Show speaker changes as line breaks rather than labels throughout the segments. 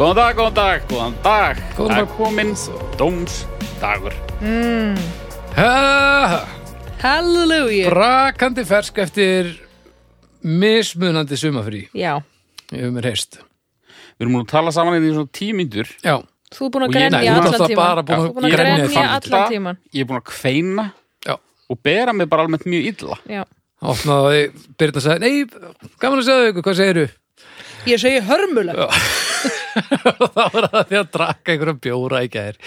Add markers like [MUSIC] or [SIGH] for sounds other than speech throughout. Góðan dag, góðan dag, góðan dag
Góðan
Það er
dag.
kominn dómsdagur
Ha, ha.
Hallelujah
Brakandi fersk eftir mismunandi sumafrí
Já,
hefur mér heyrst
Við erum múin að tala saman í því svona tíu mínútur
Já,
þú er búin
Og
að
ég-
Nei,
grenja
þú ert
allan
alltaf bara
tíman
búin að
Þú er búin að
grenja í
grenja
fangið.
allan tíman
Ég er búin að kveina
já
og bera mig bara almennt mjög illa
Já.
Opnaði Birna sagði, nei, gaman að segja ykkur, hvað segiru?
Ég segi hörmulega
og [LAUGHS] þá var það því að draka einhverjum bjóra í gær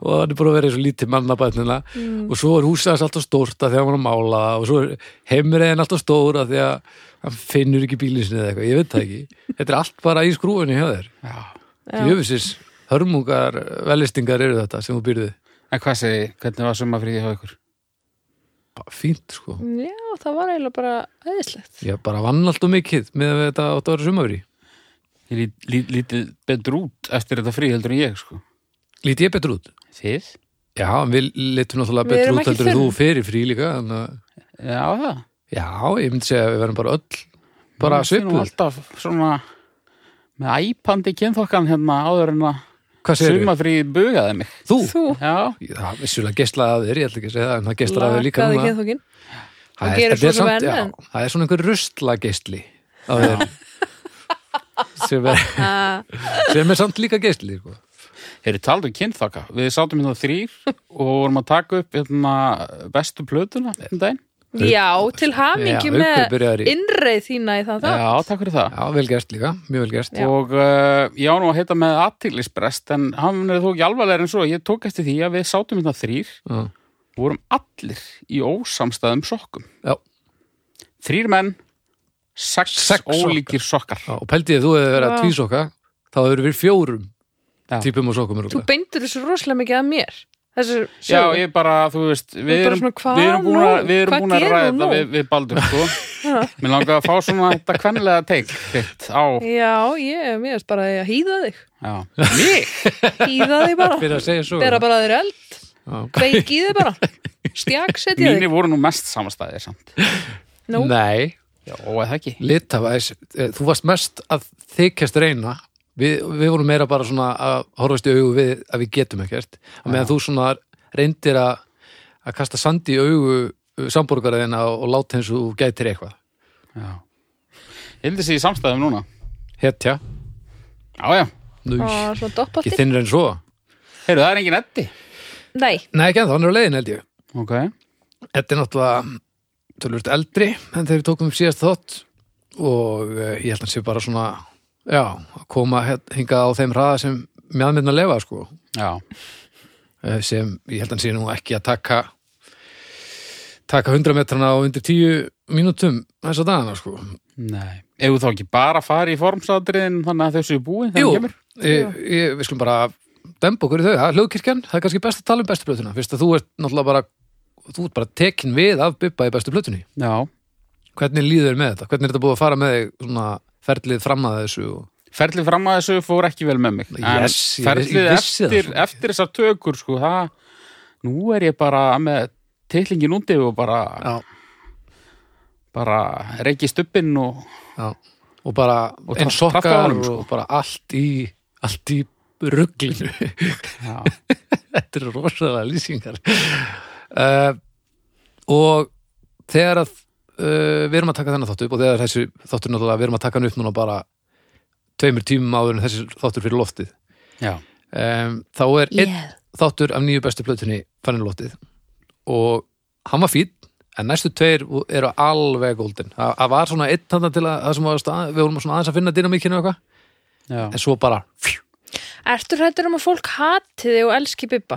og hann er búin að vera eins og lítið mannabætnina mm. og svo er húsið hans alltaf stórt af því að hann var að mála og svo er heimriðin alltaf stór af því að hann finnur ekki bílinn sinni eða eitthvað, ég veit það
[LAUGHS]
ekki þetta er allt bara í skrúfunni hjá þér
Já.
jöfisins hörmungar, velistingar eru þetta sem þú býrði
En hvað segi, hvernig var sumafríði hjá ykkur?
fínt sko,
Já, það var eiginlega bara æðislegt
ég bara vann alltaf mikið með að þetta átt að vera sumafrí
Ég lít, lít, lítið betur út eftir þetta frí heldur en ég, sko
lítið ég betur út?
Þið?
Já, en við litum náttúrulega
Við
betur
erum
út
ekki
heldur en
þunn.
þú fyrir frí líka þannig að
Já, það
Já, ég myndi segja að við verðum bara öll bara
Ég sé nú
svipuð.
Alltaf svona með æpandi kynþokkan hérna áður en að
Hvað segir við?
sumafríði bugaði mig
Þú?
Þú
Já,
Ég- Það vissulega geslaði að þér, ég ætla ekki að segja það, en það geslaði að þér líka
lakaði
núna. [LAUGHS]
geðfókin
Það
og
er-
gerir
þetta er
svo
samt-
sem enn,
já,
en-
Það er svona einhver rusla geisli á [LAUGHS] þér. Sem er,
Ah,
sem er samt líka geisli, sko.
Þeir eru taldu um kynþokka. Við sátum hérna þrýr og vorum að taka upp hérna, bestu plötuna um daginn.
Já, til hamingi
Já,
með
uppkaupur er í-
innreið þína í það
Já,
þá
takk fyrir það.
Já, vel gert líka, mjög vel gert.
Já.
Og uh, ég á nú að heita með aðtýrlisbrest en hann er þó ekki alvarlega en svo. Ég tók eftir því að við sátum hérna þrýr
Já.
og vorum allir í ósamstæðum sokkum.
Já,
Þrýr menn, sex,
Sex
ólíkir sokkar.
já, og pældi ég að þú hefur verið að
Já.
tvísokka, þá hefur verið fjórum
Já.
típum og sokkum.
Þú beindur þessu rosalega mikið að mér Þessu
Já,
sögu.
ég bara, þú veist, við
bara
erum,
svona, hvað
við erum búin að,
nú?
við erum
Hvað
búin að
gerum
ræða
nú?
þetta við, við Baldur, sko. Mér langaði að fá svona þetta kvenlega teik þitt á,
Já, ég, mér erst bara að hýða
[LAUGHS]
þig
já, mig.
Hýða þig
Fyrir
bara,
að segja svo.
bera bara að þér eld
Já.
Veik í þig
[LAUGHS]
bara Stjag setja
Mínir
þig
voru nú mest samastæðir samt.
Nú.
Nei,
Já, og eða ekki.
litafæs, eh, þú varst mest að þykjast reyna við, við vorum meira bara svona að horfast í augu við að við getum ekkert að meðan þú svona reyndir að, að kasta sandi í augu samborgaraðina og, og láta eins og þú gætir eitthvað
Já. Ég held þessi í samstæðum núna.
héttja,
Já, já.
nú,
Á, Svona
ekki
doppáttir
þinnir en svo
Heyrðu, það er engin eddi.
Nei,
nei ekki en þannig er á leiðin held ég
Ok.
Þetta er náttúrulega tölvöld eldri en þegar við tókum upp síðast þátt og eh, ég held að hann sé bara svona já, að koma hér- hingað á þeim hraða sem mjöðmyndin að lefa sko
Já.
eh, sem ég held að hann sé nú ekki að taka taka 100 metrana á undir 10 mínútum þessa dagana sko
Nei. Ef þú þá ekki bara fari í formsadriðin þannig að þau séu búin þegar
Jú,
hann kemur.
ég, ég, við skulum bara dempa okkur í þau, það er hljóðkirkjan, það er kannski best að tala um bestu blötuna, fyrst að þú ert náttúrulega bara þú ert bara tekin við af Bubba í bestu blötunni
Já.
hvernig líður þér með þetta, hvernig er þetta búið að fara með þig svona ferlið fram að þessu og...
Ferlið fram að þessu fór ekki vel með mig. En
Yes, ég-
ferlið
ég vissi það
eftir,
svo mikið.
eftir þessar tökur, sko, það, nú er ég bara með titlingin úti og bara, bara reiki stubbin og,
já, og bara
Og
eins
traff- traffka á
sokkar
honum, sko.
og bara allt í allt í ruglinu
já,
[LAUGHS] þetta eru rosalega lýsingar uh, og þegar að uh, við erum að taka þennan þáttu upp og þegar þessi þáttur náttúrulega við erum að taka hann upp núna bara tveimur tímum áður en þessi þáttur fyrir loftið
já.
um, þá er einn
yeah.
þáttur af nýju bestu plötunni fannin loftið og hann var fýtt en næstu tveir eru alveg golden það það var svona einn þarna til að, að, sem var að stað, við vorum svona aðeins að finna dynamíkinu og eitthvað
já.
en svo bara fjú,
Ertu hrættur um að fólk hati þig og elski Bibba?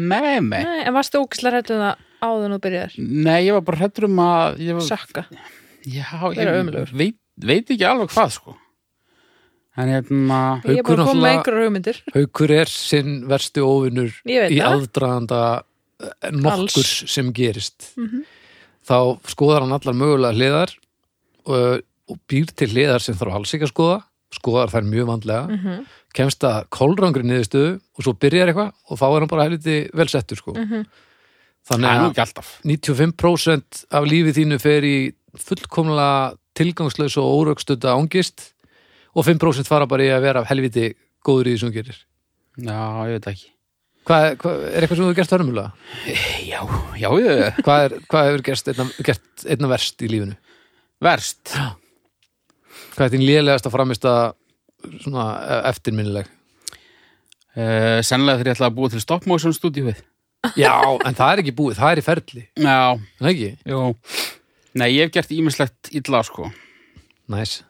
Nei, nei.
Nei, en varstu ógislega hrættur um það áður en þú byrjar
Nei, ég var bara hrættur um að ég var,
Sakka
Já,
Vera
ég
ömurlegur.
veit, veit ekki alveg hvað sko En hérna
Ég er
Haukur
bara að koma með
náttúrulega-
einhverjar hugmyndir
Haukur er sinn versti óvinnur
Ég veit
í
það.
aðdraðanda eh, nokkurs sem gerist
Mhm.
þá skoðar hann allar mögulega hliðar og, og býr til hliðar sem þarf alls ekki að skoða skoðar þær mjög vandlega
Mhm.
kemst að kolrangri niðurstöðu og svo byrjar eitthvað og þá er hann bara helviti vel settur sko.
Mhm.
þannig
Það er nú
að
ekki alltaf
95% af lífið þínu fer í fullkomlega tilgangslaus og órökstöta ángist og 5% fara bara í að vera helviti góður í því sem þú gerir?
Já, ég veit ekki.
Hvað, hvað, er eitthvað sem þú hefur gert hörmulega?
Já, já, ég,
Hvað, er, hvað hefur gerst einna, gert einna verst í lífinu?
verst.
Hvað er þín lélegasta framist að svona e- eftirminnileg?
Uh, sennilega þegar ég ætla að búa til stop motion stúdíuð.
Já, en það er ekki búið, það er í ferli.
Já,
Er Það ekki?
jú. Nei, ég hef gert ímislegt illa, sko.
Næs.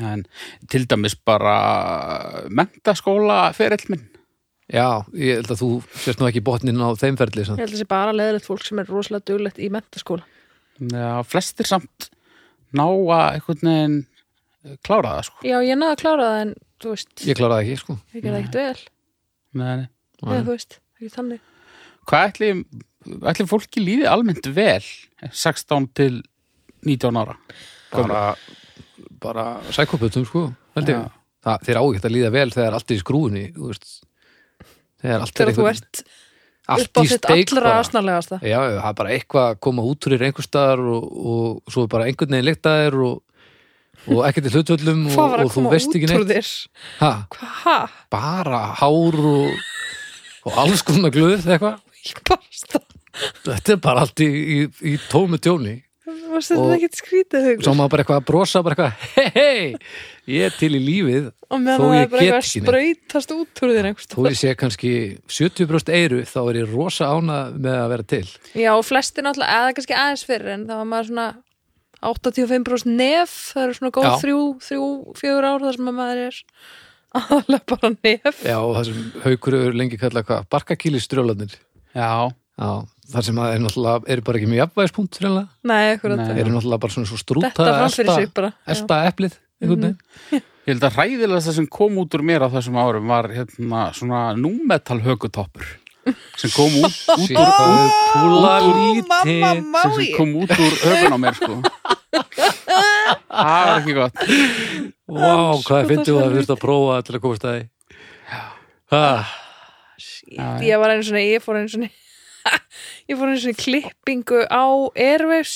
En til dæmis bara mentaskóla ferill minn.
Já, ég held að þú sérst nú ekki botnin á þeim ferli.
Ég
Sann.
held að það sé bara leðilegt fólk sem er rosalega duglegt í mentaskóla.
Já, flestir samt ná að einhvern veginn klára það, sko.
Já, ég náði að klára það en, þú veist, ég,
Ég kláraði ekki, sko.
gerði ekkert vel.
Nei, nei.
Eða, þú veist, ekki þannig.
Hvað ætli, ætli fólki líði almennt vel 16 til 19 ára?
Bara, bara sækoputum, sko, held ég.
Já.
Það, þeir ágætt að líða vel þegar allt er í skrúðinni, þú veist. Þegar allt er
Þegar þú
einhvern-
ert
allt
upp á
í
þitt
steik
allra
bara.
asnalegasta.
Já, já, það er bara eitthvað að koma út úr einhver staðar og, og svo er bara einhvern veginn leiktaðir og, og ekkert í hlutvöllum og,
[LAUGHS] Hvað var
og
að
þú
koma
veist
út
ekki
úr
neitt
þér?
ha,
Hvað?
bara hár og, og alls konar glöð eitthvað,
Ég barst það.
þetta er bara allt í, í, í tómu tjóni
Varst þetta
Og-
ekkert skrítið
svo
hugur?
maður bara eitthvað að brosa bara eitthvað, hei, hei ég er til í lífið
Og
þó
meðan það
ég
er bara
get
eitthvað að
ekki neitt.
sprautast út úr þér einhvers
þó ég sé kannski 70% eiru þá er ég rosa ánað með að vera til
Já, og flestir náttúrulega, eða kannski aðeins fyrir en það var maður svona 85% nef, það eru svona góð
Já.
þrjú, þrjú, fjögur ár þar sem að maður er aðalega bara nef
já, og það sem haukur eru lengi kallað hvað, barkakýli strjólanir
Já,
Já, þar sem að er náttúrulega eru bara ekki mjög jafnvægispunkt reynilega,
Nei, ekkur að
Nei.
þetta
eru náttúrulega bara svona svo strúta
Detta fram fyrir sig bara Já.
elta eplið einhvern veginn,
ég held að hræðilega það sem kom út úr mér á þessum árum var hérna svona númetal hökutoppur sem kom út,
[LAUGHS]
út,
Sér hvað við púla
Ó,
mamma,
lítið
má
sem, sem
ég?
kom út úr hökun á mér sko. Það var ekki gott
Vá, hvað
Sko,
finnst þú
það
að
er
þú ert að prófa til að komast að því Ah,
Shit, Ég var einu svona, ég fór einu svona [LAUGHS] ég fór einu svona klippingu á Airwaves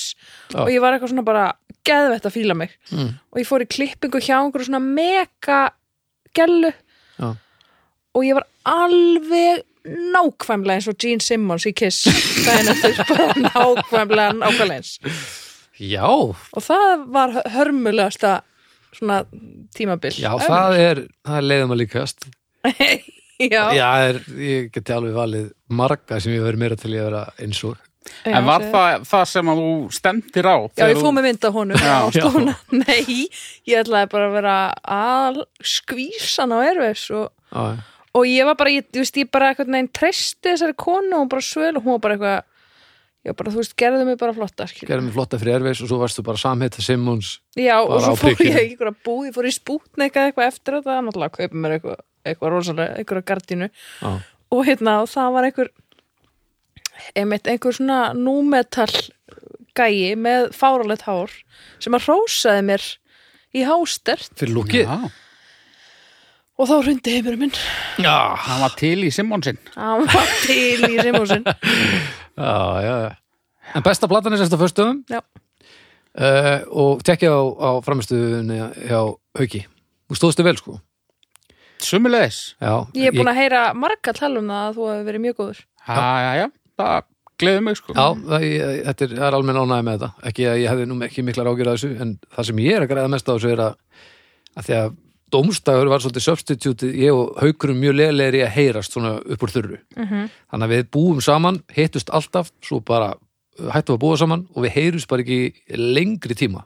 Já.
og ég var eitthvað svona bara geðvett að fíla mig
Mm.
og ég fór í klippingu hjá einhverju svona mega gellu
Já.
og ég var alveg nákvæmlega eins og Gene Simmons í
[LAUGHS]
Kiss daginn eftir bara nákvæmlega nákvæmlega eins
Já,
og það var hörmulegasta svona tímabil
já, það er það er leiðum að líkast
já,
Já, er, ég geti alveg valið marga sem ég verið meira til í að vera eins og
já,
En var
segðu.
það, það sem að þú stemtir á?
Já,
þegar
ég fóð með mynd af honum [LAUGHS]
Já.
á stóna. Nei, ég ætlaði bara að vera að skvísan á erfis og,
Já,
og ég var bara, ég, þú veist, ég bara eitthvað neginn treysti þessari konu og hún bara svöl og hún var bara eitthvað ég var bara, þú veist, gerðu mig bara flotta skilur.
gerðum við flotta fyrir erfis og svo varstu bara samhita Simmons
Já, og
bara
svo
á
fór
prikinu.
ég í einhverja búð, ég fór í spútneika eitthvað eftir þetta, náttúrulega að kaupa mér eitthvað, eitthvað rosalega, einhverja gardínu
Já,
og hérna, og það var einhver einmitt einhver svona númetal gæi með fáralegt hár sem að rósaði mér í hástert
fyrir lúkið
Já,
og þá hrundi heimurinn minn
Já,
hann var til í Simonsinn
hann var til í Simósin
Já, já, já. En besta platan er sérst á föstum
Já.
uh, og tekja á, á framistuðunni hjá Hauki. Þú stóðstu vel, sko.
Sumulegis
Já,
ég er búin að heyra marga tala um það að þú hefur verið mjög góður
Já, já, já, það gleður mig sko
Já, það, ég, þetta er, það er almenn ánæði með þetta. Ekki að ég hefði nú ekki miklar ágjur að þessu, en það sem ég er að græða mest á þessu er að, að því að dómstagur var svolítið substitute, ég og haukurum mjög leðilegir í að heyrast svona upp úr þurru. Þannig að við búum saman, hittust alltaf, svo bara uh, hættum að búa saman og við heyrjumst bara ekki í lengri tíma.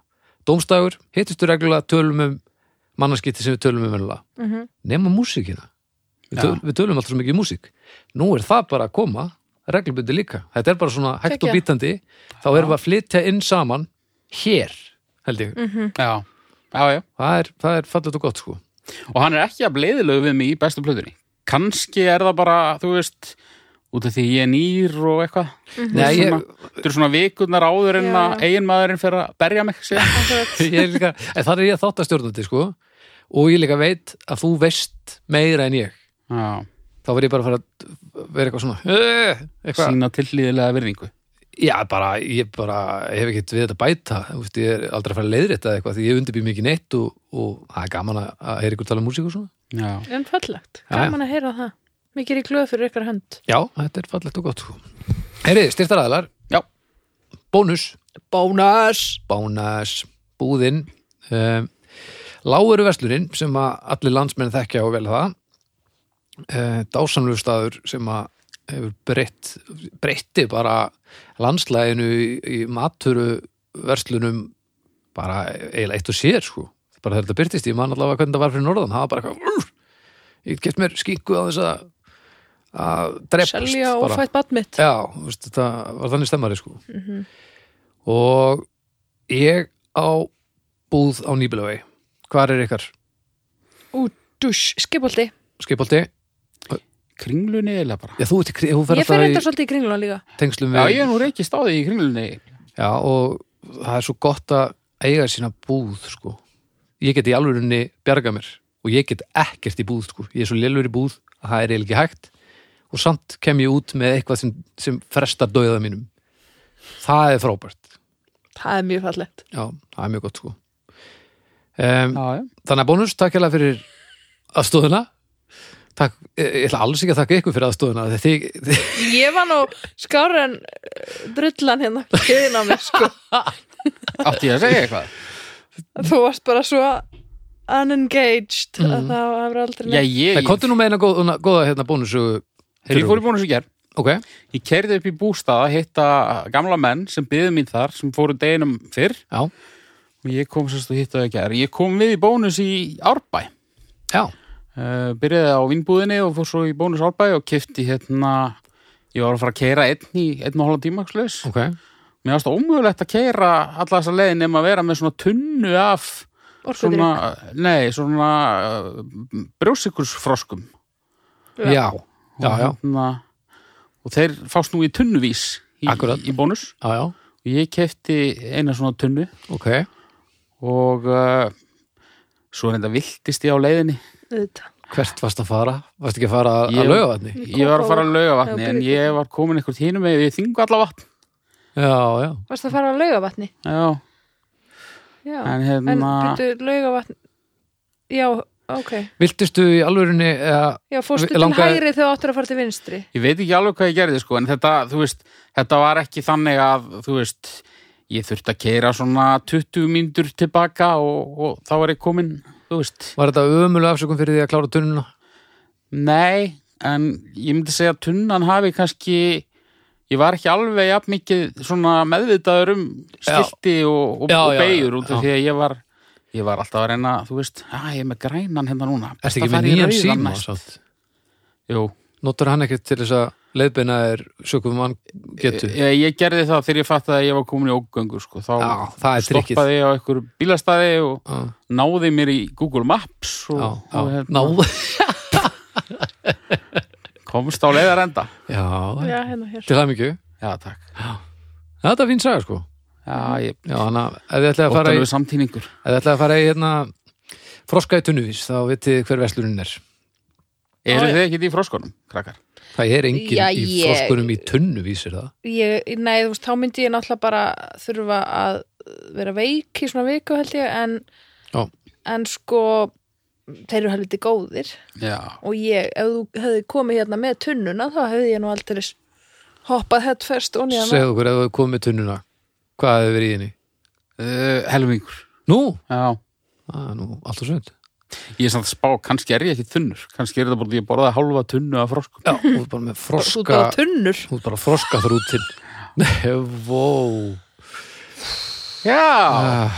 Dómstagur, hittustu reglulega, tölum um mannarskipti sem við tölum um ennlega. Mm
Mhm.
Nema músíkina. Við, töl, við tölum alltaf svo mikið um músík. Nú er það bara að koma, reglubundi líka. Þetta er bara svona hægt og
Kekja.
bítandi. Þá erum við að flytja inn saman hér, held ég.
Já, já, já
Það er, það er fallet og gott, sko. [LAUGHS]
Og hann er ekki að bleiðilegu við mig í bestu plötunni Kanski er það bara, þú veist út af því ég er nýr og eitthvað
Nei, ég,
Þetta eru svona vikunar áður en
Já,
að eiginmaðurinn fyrir að berja mig síðan.
[LAUGHS]
ég er líka, en þar er ég þáttastjórnandi, sko. Og ég líka veit að þú veist meira en ég.
Já,
þá verð ég bara að fara að vera eitthvað svona "Eh", eitthvað,
sína tillýðilega virðingu
já bara ég bara, ég hef ekkert við þetta að bæta þú veist, ég er aldrei að fara að leiðrétta eitthvað því ég undirbý mikið neitt og, og það er gaman að, að heyra ykkur tala um músík og svona
Já.
En fallegt,
Já, já.
gaman að heyra það Mikið er ég glöð fyrir ykkar hönd
Já, þetta er fallegt og gott sko. Herri, styrtaræðlar
Já.
Bónus
Bónus
Bónus Búðinn um, Láveru verslunin sem að allir landsmenn þekkja og vel það uh, dásamlegu staður sem að hefur breytt breytti bara landslæginu í, í maturu verslunum bara eiginlega eitt og sér sko bara þegar þetta byrtist, ég man allavega hvernig það var fyrir norðan það var bara eitthvað "Urr, ég get mér skinku á þess að að drepast
Selja
bara."
ófætt bad mitt
Já, þú veist, þetta var þannig stemmari sko
Mhm.
og ég á búð á Nýbílavegi hvar er ykkar
Ú, dús, skipolti
skipolti?
Kringlunni eða bara.
Já, þú, ert í kri- þú fer
Ég fer
alltaf í
enda svolítið í kringluna líka
tengslum
Já,
við
ég er nú reykist á því í kringlunni.
Já, og það er svo gott að eiga sína búð sko ég get í alvörunni bjarga mér og ég get ekkert í búð sko ég er svo lélur í búð að það er eiginlega ekki hægt og samt kem ég út með eitthvað sem, sem frestar döða mínum það er frábært
Það er mjög fallegt
Já, það er mjög gott sko um,
Já, já.
Þannig að bónus, takk hérlega fyrir aðstóðuna Takk, ég ég ætla alls ekki að þakka ykkur fyrir aðstóðuna Þið, þið, þið,
Ég var nú skára en eh, drullan hérna Kiðin á mér
[LAUGHS]
sko
Átti ég að segja
[LAUGHS]
eitthvað?
Þú varst bara svo unengaged
Mm.
að það var aldrei
Já, ég,
Nei, komdu nú með eina góða, góða hérna, bónusu
Þegar ég fór í bónus í gerð,
Ok,
ég kerði upp í bústaða, hitta gamla menn sem byðu mín þar, sem fóru deginum fyrr
já,
og ég kom sérst og hitta þau í gerð. Ég kom við í bónus í Árbæ,
já
uh, byrjaði á vinnbúðinni og fór svo í bónus Árbæ og kefti hérna, ég var að fara að keira einn í einn og halvan tíma, slags.
Ok,
Mér varst ómögulegt að keira alla þessa leiðin nema að vera með svona tunnu af
orkudrykk.
svona, nei, svona uh, brjósikursfroskum.
já, já, já, já,
og, hérna, og þeir fást nú í tunnuvís í,
Akkúrat.
í bónus
já,
og ég kefti eina svona tunnu
ok
og uh, svo reynda viltist ég á leiðinni
Auðvitað.
Hvert varst að fara? Varst ekki að fara að-
Ég-
að lauga þarna?
ég var að fara að lauga vatni
Já,
en
byrjuðu.
ég var komin eitthvað hínum með við þingu alla vatn
Já, já,
Varst að fara að laugavatni?
Já,
Já,
en
en
hérna
byrju laugavatn Já, ok
viltistu í alvörunni eða,
Já, fórstu
Við-
til
langaði-
hægri þegar þú áttur að fara til vinstri
ég veit ekki alveg hvað ég gerði sko en þetta, þú veist, þetta var ekki þannig að þú veist, ég þurfti að keira svona 20 mínútur tilbaka og, og þá var ég komin þú veist,
Var þetta ömulega afsökum fyrir því að klára tunnuna?
Nei, en ég myndi segja að tunnan hafi kannski ég var ekki alveg jafn mikið svona meðvitaður um
Já.
stilti og, og,
Já,
og
já,
beigur
já,
út
já.
af því að ég var ég var alltaf að reyna, þú veist, að ég er með grænan hérna núna.
Ertu
Best að
ekki með
fara í
nýjan
rauðan
síma?
næst.
Sátt?
Jú,
Notar hann ekkert til þess að leiðbeina er sökum mann getu?
ég, ég gerði það þegar ég fatt að ég var komin í ógöngu, sko, þá
Já, það er trikkið.
stoppaði ég á einhver bílastæði og
Já,
náði mér í Google Maps og,
já,
og
já,
hérna,
ná,
komst á leiðarenda.
já,
Já, hérna hér
til það mikið.
Já, takk.
Þetta er fín saga, sko.
Já, ég
Já, hann að, ef þið ætlaði að fara í,
óttalegu samtíningur.
ef þið ætlaði að fara í, hérna, froska í tunnuvís, þá vitið þið hver veslurinn er.
Eru
Já,
þið ekki í froskunum, krakkar?
Það er engin
Já,
í
ég-
froskunum í tunnuvís, er það?
ég, Nei, þú veist, þá myndi ég náttúrulega bara þurfa að vera veik í svona viku held ég en,
Já.
en sko þeir eru helviti góðir
Já.
og ég, ef þú hefði komið hérna með tunnuna þá hefði ég nú aldrei hoppað hett fyrst og nýðan
Segðu okkur ef þið komið með tunnuna, hvað hefði verið í henni?
Uh, helmingur.
Nú,
Já.
að, nú, allt og sveit.
Ég er samt að spá, kannski er ég ekki þunnur. Kannski er þetta bara því að ég borðaði hálfa tunnu af froskum.
Já, þú er bara með
Þú
froska,
bara tunnur
þú er bara froska þrútin. Nei, vó.
Já,
Ah,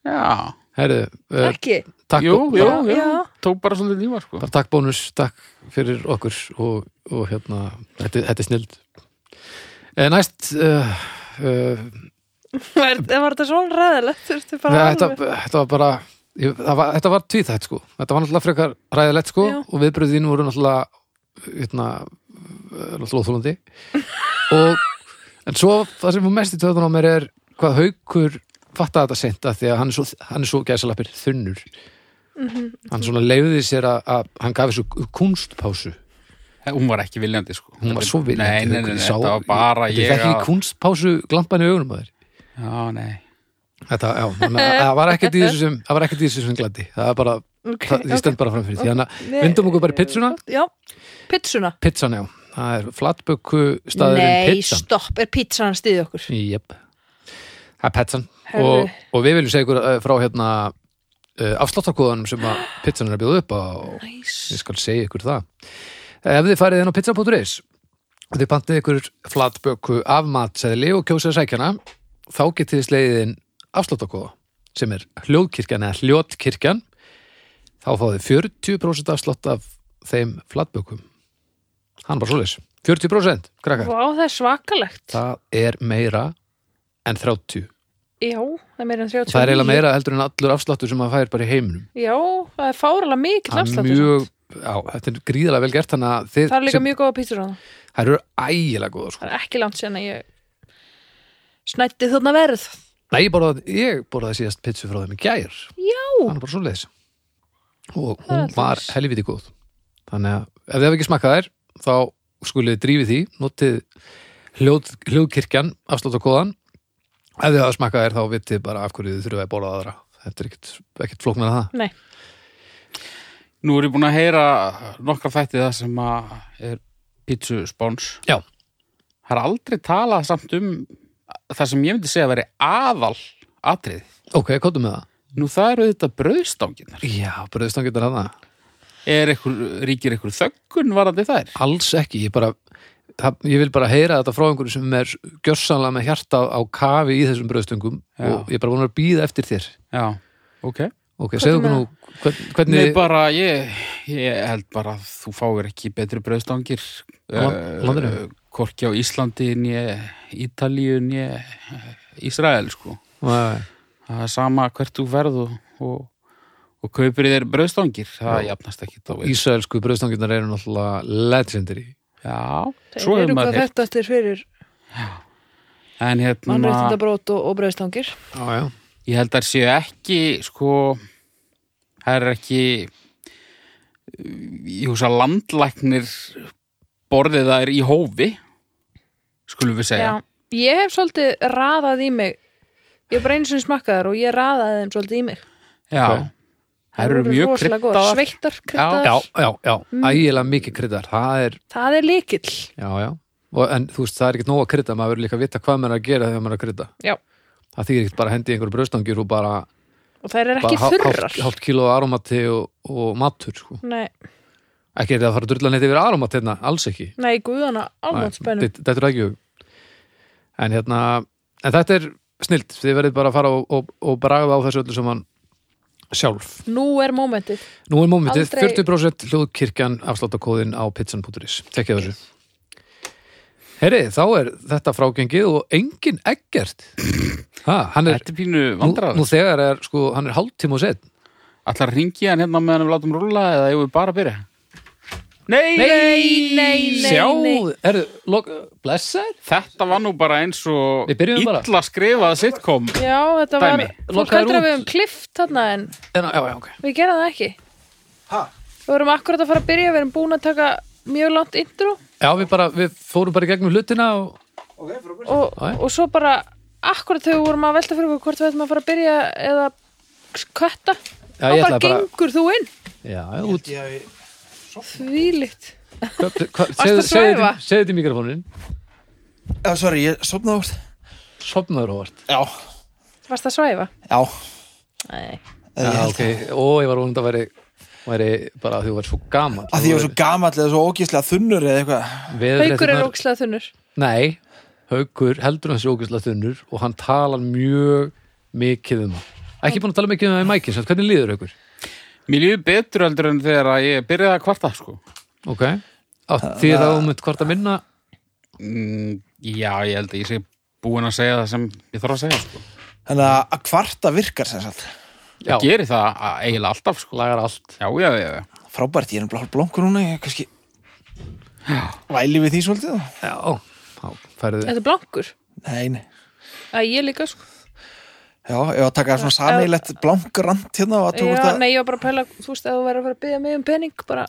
já.
Herðu, uh,
Ekki,
takk.
Jú, jú,
bara-
jú.
já.
Tók bara svolítið nýma, sko.
bara takk bónus, takk fyrir okkur og, og hérna, þetta, þetta er snild næst uh, uh,
var, var þetta svona ræðilegt þurftu bara
þetta, þetta var bara ég, það var, þetta var tvíþætt sko þetta var náttúrulega frekar ræðilegt sko
Já.
og viðbröð þín voru náttúrulega hérna, eh, náttúrulega
[LAUGHS]
óþólandi og en svo það sem er mest í töðan á mér er hvað haukur fattaði þetta seint að því að hann er svo, hann er svo gæsalappir þunnur
Mhm,
hann svona leiði sér að, að hann gafi svo kunstpásu
Hún var ekki viljandi, sko.
hún var svo viljandi
Nei, nei, nei,
Ég
nei
sá-
þetta var bara
þetta
ég
er ekki í kunstpásu glampan í augunum að þér
Já, nei.
þetta, já, þannig að það var ekkert í þessu sem það var ekkert í þessu sem gladi það er bara
Ok,
það, ég stend bara fram fyrir því þannig
Nei.
að vindum okkur bara í pizzuna
Já, pizzuna
pizzan já, það er flatböku staðurinn
Nei,
pizzan
stopp, er pizzan að stiðja okkur
Jep. það er pizzan
Herðu.
og, og við viljum segja ykkur eh, frá hérna uh, afsláttarkóðanum sem að pizzan er að bjóða upp á
Næs
ég skal segja ykkur það ef þið farið inn á pizza.is og þið pantið ykkur flatböku af matseðli og kjósið að sækjana þá getið þið sleiðin afsláttakóða sem er hljóðkirkjan eða hljótkirkjan þá fáið þið 40% afslátt af þeim flatbökum hann bara svoleiðis 40% krakkar,
Vá, það er svakalegt
það er meira en 30
Já, það er meira en 30
það er eiginlega meira heldur en allur afsláttur sem maður fær bara í heiminum
Já, það er fáralega mikil
Það er
afslátt
mjög, já, þetta er gríðarlega vel gert þannig að þið
Það er líka
sem-
mjög góða pizzur á það
þær eru ægilega góða sko.
Það er ekki langt sérna ég snætti þarna verð
Nei, ég borðaði, ég borðaði síðast pizzu frá þeim í gær.
Já.
Hann er bara svo leiðis. Og
Það
hún
er
var
svoleiðis.
helviti góð. Þannig að ef þið hafa ekki smakkað þær, þá skulið þið drífið því, notið hljóð, hljóðkirkjan, afsláttakóðan. Ef þið hafa smakkað þær, þá vitið bara af hverju þið þurfið að borða aðra. Þetta er ekkit, ekkit flóknar að það.
Nei,
Nú er ég búin að heyra nokkra þætti það sem að er pítsu spóns.
Já.
Það er aldrei talað samt um það sem ég myndi segja að veri aðal atrið.
Ok, kóttum með það.
Nú það eru þetta brauðstanginar.
Já, bröðstangetar að það.
Er ykkur, ríkir ykkur þöggun varandi þær?
Alls ekki, ég bara... Það, ég vil bara heyra þetta frá einhverju sem er gjörsanlega með hjarta á kafi í þessum bröðstöngum
Já.
og ég er bara vonar að býða eftir þér
Já, ok.
Ok,
Hvað
segðu
er
okkur
með-
nú hvern-
Nei,
hvernig
bara, ég, ég held bara að þú fáir ekki betri brauðstangir.
Á land-
eh,
landinu?
Hvorki á Íslandi, nýja Ítalíu, nýja Ísrael, sko.
Nei,
það er sama hvert þú verð og, og, og kaupir þér brauðstangir það
Já.
jafnast ekki þá við.
Ísraelsku bröðstangirnar eru náttúrulega legendary
já,
það
svo
eru
hefur
hvað
maður heyrt
þetta eftir fyrir
en hérna,
mannréttindabrót og, og breyðstangir
Já, já,
ég held að þær séu ekki sko það er ekki ég hugsa að landlæknir borðið þær í hófi skulum við segja
Já, ég hef svolítið raðað í mig Ég er bara einu sinni smakkaðar og ég raðaði þeim svolítið í mig
já.
Ok.
þær eru mjög
rosalega góðar.
kryddaðar
Sveittar, kryddaðar
já, já, já.
Mm.
ægilega mikið kryddar Það er,
Það er líkill
já, já Og, en þú veist, það er ekkert nóg að krydda, maður verður líka að vita hvað maður er að gera þegar maður er að krydda
Já,
Það þýr ekkert bara að hendi einhverju bröðstangir og bara,
og þær er
bara
ekki þurrar
hálft, hálft kíló aromati og, og matur sko.
Nei,
Ekki er það að fara að drulla neitt yfir aromat hérna, alls ekki
nei, guðana, alveg
Nei,
spennum
þetta- þetta er ekki hug. en hérna, en þetta er snilt þið verðið bara að fara og, og, og braga á þessu öllu saman sjálf
Nú er mómentið
Nú er mómentið,
Aldrei-
40% hljóðkirkjan afsláttakóðin á pizzan.is Tekkið þessu Herri, þá er þetta frágengið og engin ekkert [CLEARS THROAT] ha, Hann er,
þetta er pínu
nú,
vandræð
nú þegar er sko, hann er hálftíma og sett
allar ringi hann hérna meðan við látum rúlla eða ég við bara að byrja Nei,
Nei, nei, nei.
Sjá, er, lok, blessaður
Þetta var nú bara eins og
Við byrjum bara.
illa skrifað sitcom
Já, þetta var,
Dæmi.
fólk
Lokaður
heldur að
út.
við höfum klift þarna en
En, Hérna, Já, já, ok
við gerum það ekki Við vorum akkurat að fara að byrja, við erum búin að taka mjög langt intro
Já, við, bara, við fórum bara í gegnum hlutina og
og,
Já, já.
og svo bara akkurat þegar við vorum að velta fyrir okkur hvort við ættum að fara að byrja eða kötta þá
ég
bara
ætlaði bara-
gengur þú inn
Já, já, út
þvílitt
hva- hva- segðu-
Varstu að
Segðu
svæfa?
þetta- segðu þetta í mikrofónin
Já, sorry, ég sopnaði úr
Sopnaður óvart
Já,
varst að svæfa
já,
Nei.
já
Já, ok, ó, ég var vonund að væri, væri bara að þú var svo gaman
Að því ég var svo gamall eða svo ógíslega þunnur eða eitthvað
haukur er ókslega þunnur
Nei, Haukur heldur hans er ógæslega þunnur og hann talar mjög mikið um það Ekki búin að tala mikið um það í mækinn, samt hvernig líður Haukur?
Mér líður betur heldur en þegar að ég byrjaði að kvarta sko.
Ok, á, því að þú mynd hvort að minna
mm, Já, ég held að ég sé búin að segja það sem ég þarf að segja sko.
Þannig að að kvarta virkar sem sagt
Já,
Ég geri það að- eiginlega alltaf sko.
lagar allt
Já, já, já, já
Frábært, ég er bara hálf blónkur núna Ég kannski væli við því svolítið og-
Já, þá færðu
þetta er blankur
Nei, nei
að ég líka sko
Já, ég var að taka svona sameigilegt blánkrant hérna og að tókast
já,
að
nei, ég var bara að pæla þú veist að þú verður að fara að byrja mig um pening bara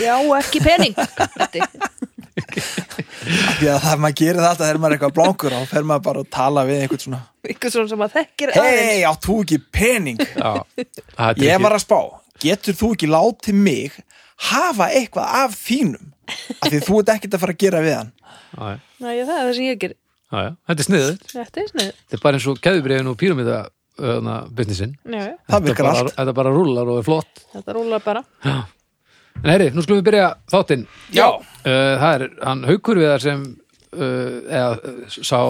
já ekki pening Þetta er-
Því að það maður gerir það alltaf þegar maður er eitthvað blánkur og fer maður bara að tala við einhvern svona
einhver svona sem að þekkir aðeins
[LAUGHS] Hei, átt þú ekki pening
Já, það er
Ég
ekki-
var að spá, getur þú ekki látið mig hafa eitthvað af þínum af því þú ert ekkert að fara að gera við hann
já, já,
Næ, ég, það er það sem ég ger
já. Þetta er sniðið.
Þetta er snið
Þetta er bara eins og keðubriðin og píramíða öðna, businessin.
já, já,
það
Þetta
virkar
bara,
allt
þetta bara rúlar og er flott.
Þetta rúlar bara
En herri, nú skulum við byrja þáttinn.
Já.
Uh, það er hann haukur við þar sem uh, eða uh, sá,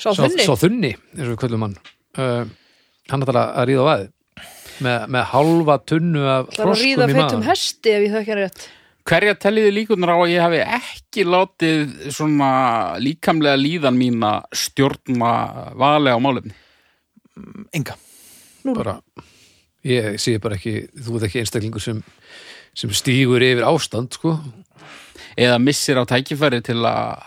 Sá
sá,
þunni
sá þunni, eins og við kvöldum hann. Uh, hann ætlar að ríða á aðið. Með, með halva tunnu af
Það er að ríða
froskum í
feitum
maður.
hesti ef ég það ekki er rétt
Hverja telliði líkunar á að ég hafi ekki látið svona líkamlega líðan mína stjórna valega á málefni?
enga
bara, ég sé bara ekki þú ert ekki einstaklingur sem sem stígur yfir ástand sko
Eða missir á tækifæri til að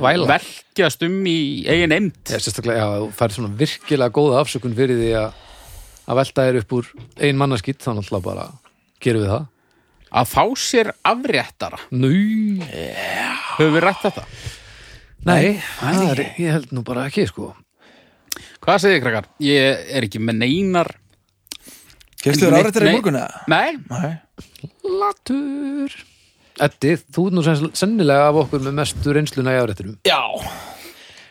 væla.
velkjast um í eigin eimt?
ég, sérstaklega, já, þú fær svona virkilega góða afsökun fyrir því að að velta þér upp úr ein mannaskýtt þá náttúrulega bara gerum við það
Að fá sér afréttara.
Nei,
Höfum við rætt þetta?
nei, það er, ég held nú bara ekki sko
Hvað segir þið, krakkar? Ég er ekki með neinar...
Fyrstu þér
Nei-
áreitir í
nei-
morgun eða?
Nei,
Nei.
Latur Eddi, þú ert nú senn- sennilega af okkur með mestu reynsluna í afréttinum
Já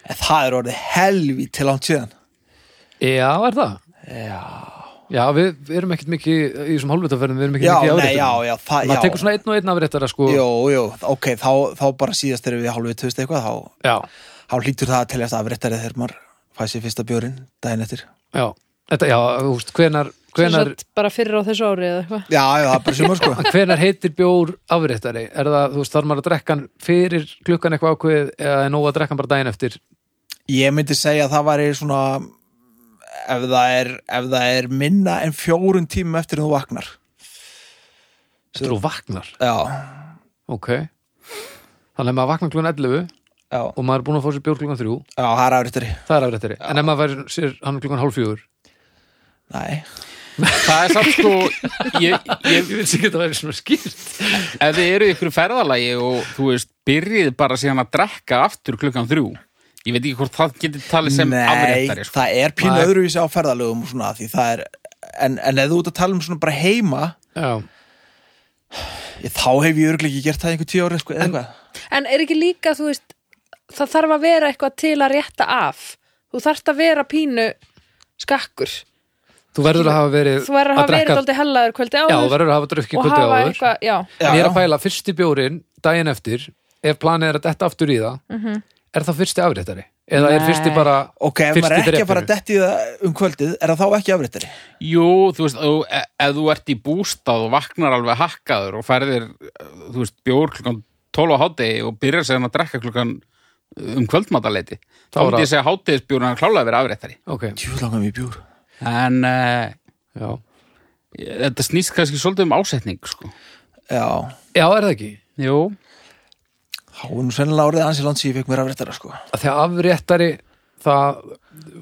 En það er orðið helvi til langt síðan
Já, er það?
Já
Já, við, við erum ekkert mikið í þessum hálfutaferðum, við erum ekkert
Já,
mikið í
nei,
afréttinum
já, já, það, já
Maður tekur svona einn og einn afréttara sko
Jó, jó, ok, þá, þá bara síðast erum við hálfið tvöst eitthvað þá,
Já,
þá hlýtur það að teljast afréttari þegar maður fæði sér fyrsta björinn daginn eftir
já, þetta, já, þú veist, hvenar
Hvenar...
hvenar,
Bara fyrir á þessu ári eða eitthvað
Já, já, það er bara sumar sko
hvenar heitir bjór afréttari? Er það, þú veist, þarf maður að drekka hann fyrir klukkan eitthvað ákveð eða er nóg að drekka hann bara daginn eftir?
Ég myndi segja að það væri svona ef það er, ef það er minna en fjórun tímum eftir en þú vaknar
Þetta þú vaknar,
Já,
ok Þannig að maður vaknar klukkan 11
já,
og maður er búin að fá sér bjór klukkan 3
já, það er afréttari
það er afréttari, en ef maður fær sér hann klukkan hálf fjögur
Nei,
það er samt sko... Ég, ég,
Ég veit ekki að það væri svona skýrt
ef þið eru í ykkur ferðalagi og þú veist, byrjið bara síðan að drekka aftur klukkan þrjú ég veit ekki hvort það getur talið sem
Nei
afréttari sko.
það er pínu
Nei.
öðruvísi á ferðalögum og svona því það er, en, en ef þú ert að tala um svona bara heima
Já,
Ég, þá hef ég örglega ekki gert það í einhver tíu ári sko, eða hvað
En er ekki líka, þú veist, það þarf að vera eitthvað til að rétta af. Þú þarft að vera pínu skakkur.
þú verður að hafa verið
Þú verður að hafa verið aldrei hellaður kvöldi áður
Já, þú verður að hafa drukkið
og
kvöldi
hafa
áður
eitthvað, já.
Já.
En ég er að pæla fyrsti bjórin daginn eftir ef planið er að detta aftur í það
Mhm.
er það fyrsti afréttari? Eða er
Nei.
fyrsti bara
ok, ef maður
fyrsti
er ekki að fara
drepurinn?
að detti það um kvöldið er það þá ekki afréttari
Jú, þú veist, ef, ef þú ert í bústað og vaknar alveg hakkaður og færðir, þú veist, bjór klukkan 12 á hátegi og byrjar síðan að drekka klukkan um kvöldmataleiti þá
Þá er að-
myndi ég segja hátegisbjórn að klála að vera afréttari
Ok,
djú langar mér í bjúr
en uh,
já
þetta snýst kannski svolítið um ásetning sko.
já,
Já, er það ekki?
Jú,
þá er nú sennilega árið ansi langt sem ég fekk mér afréttara sko
Af Því að afréttari það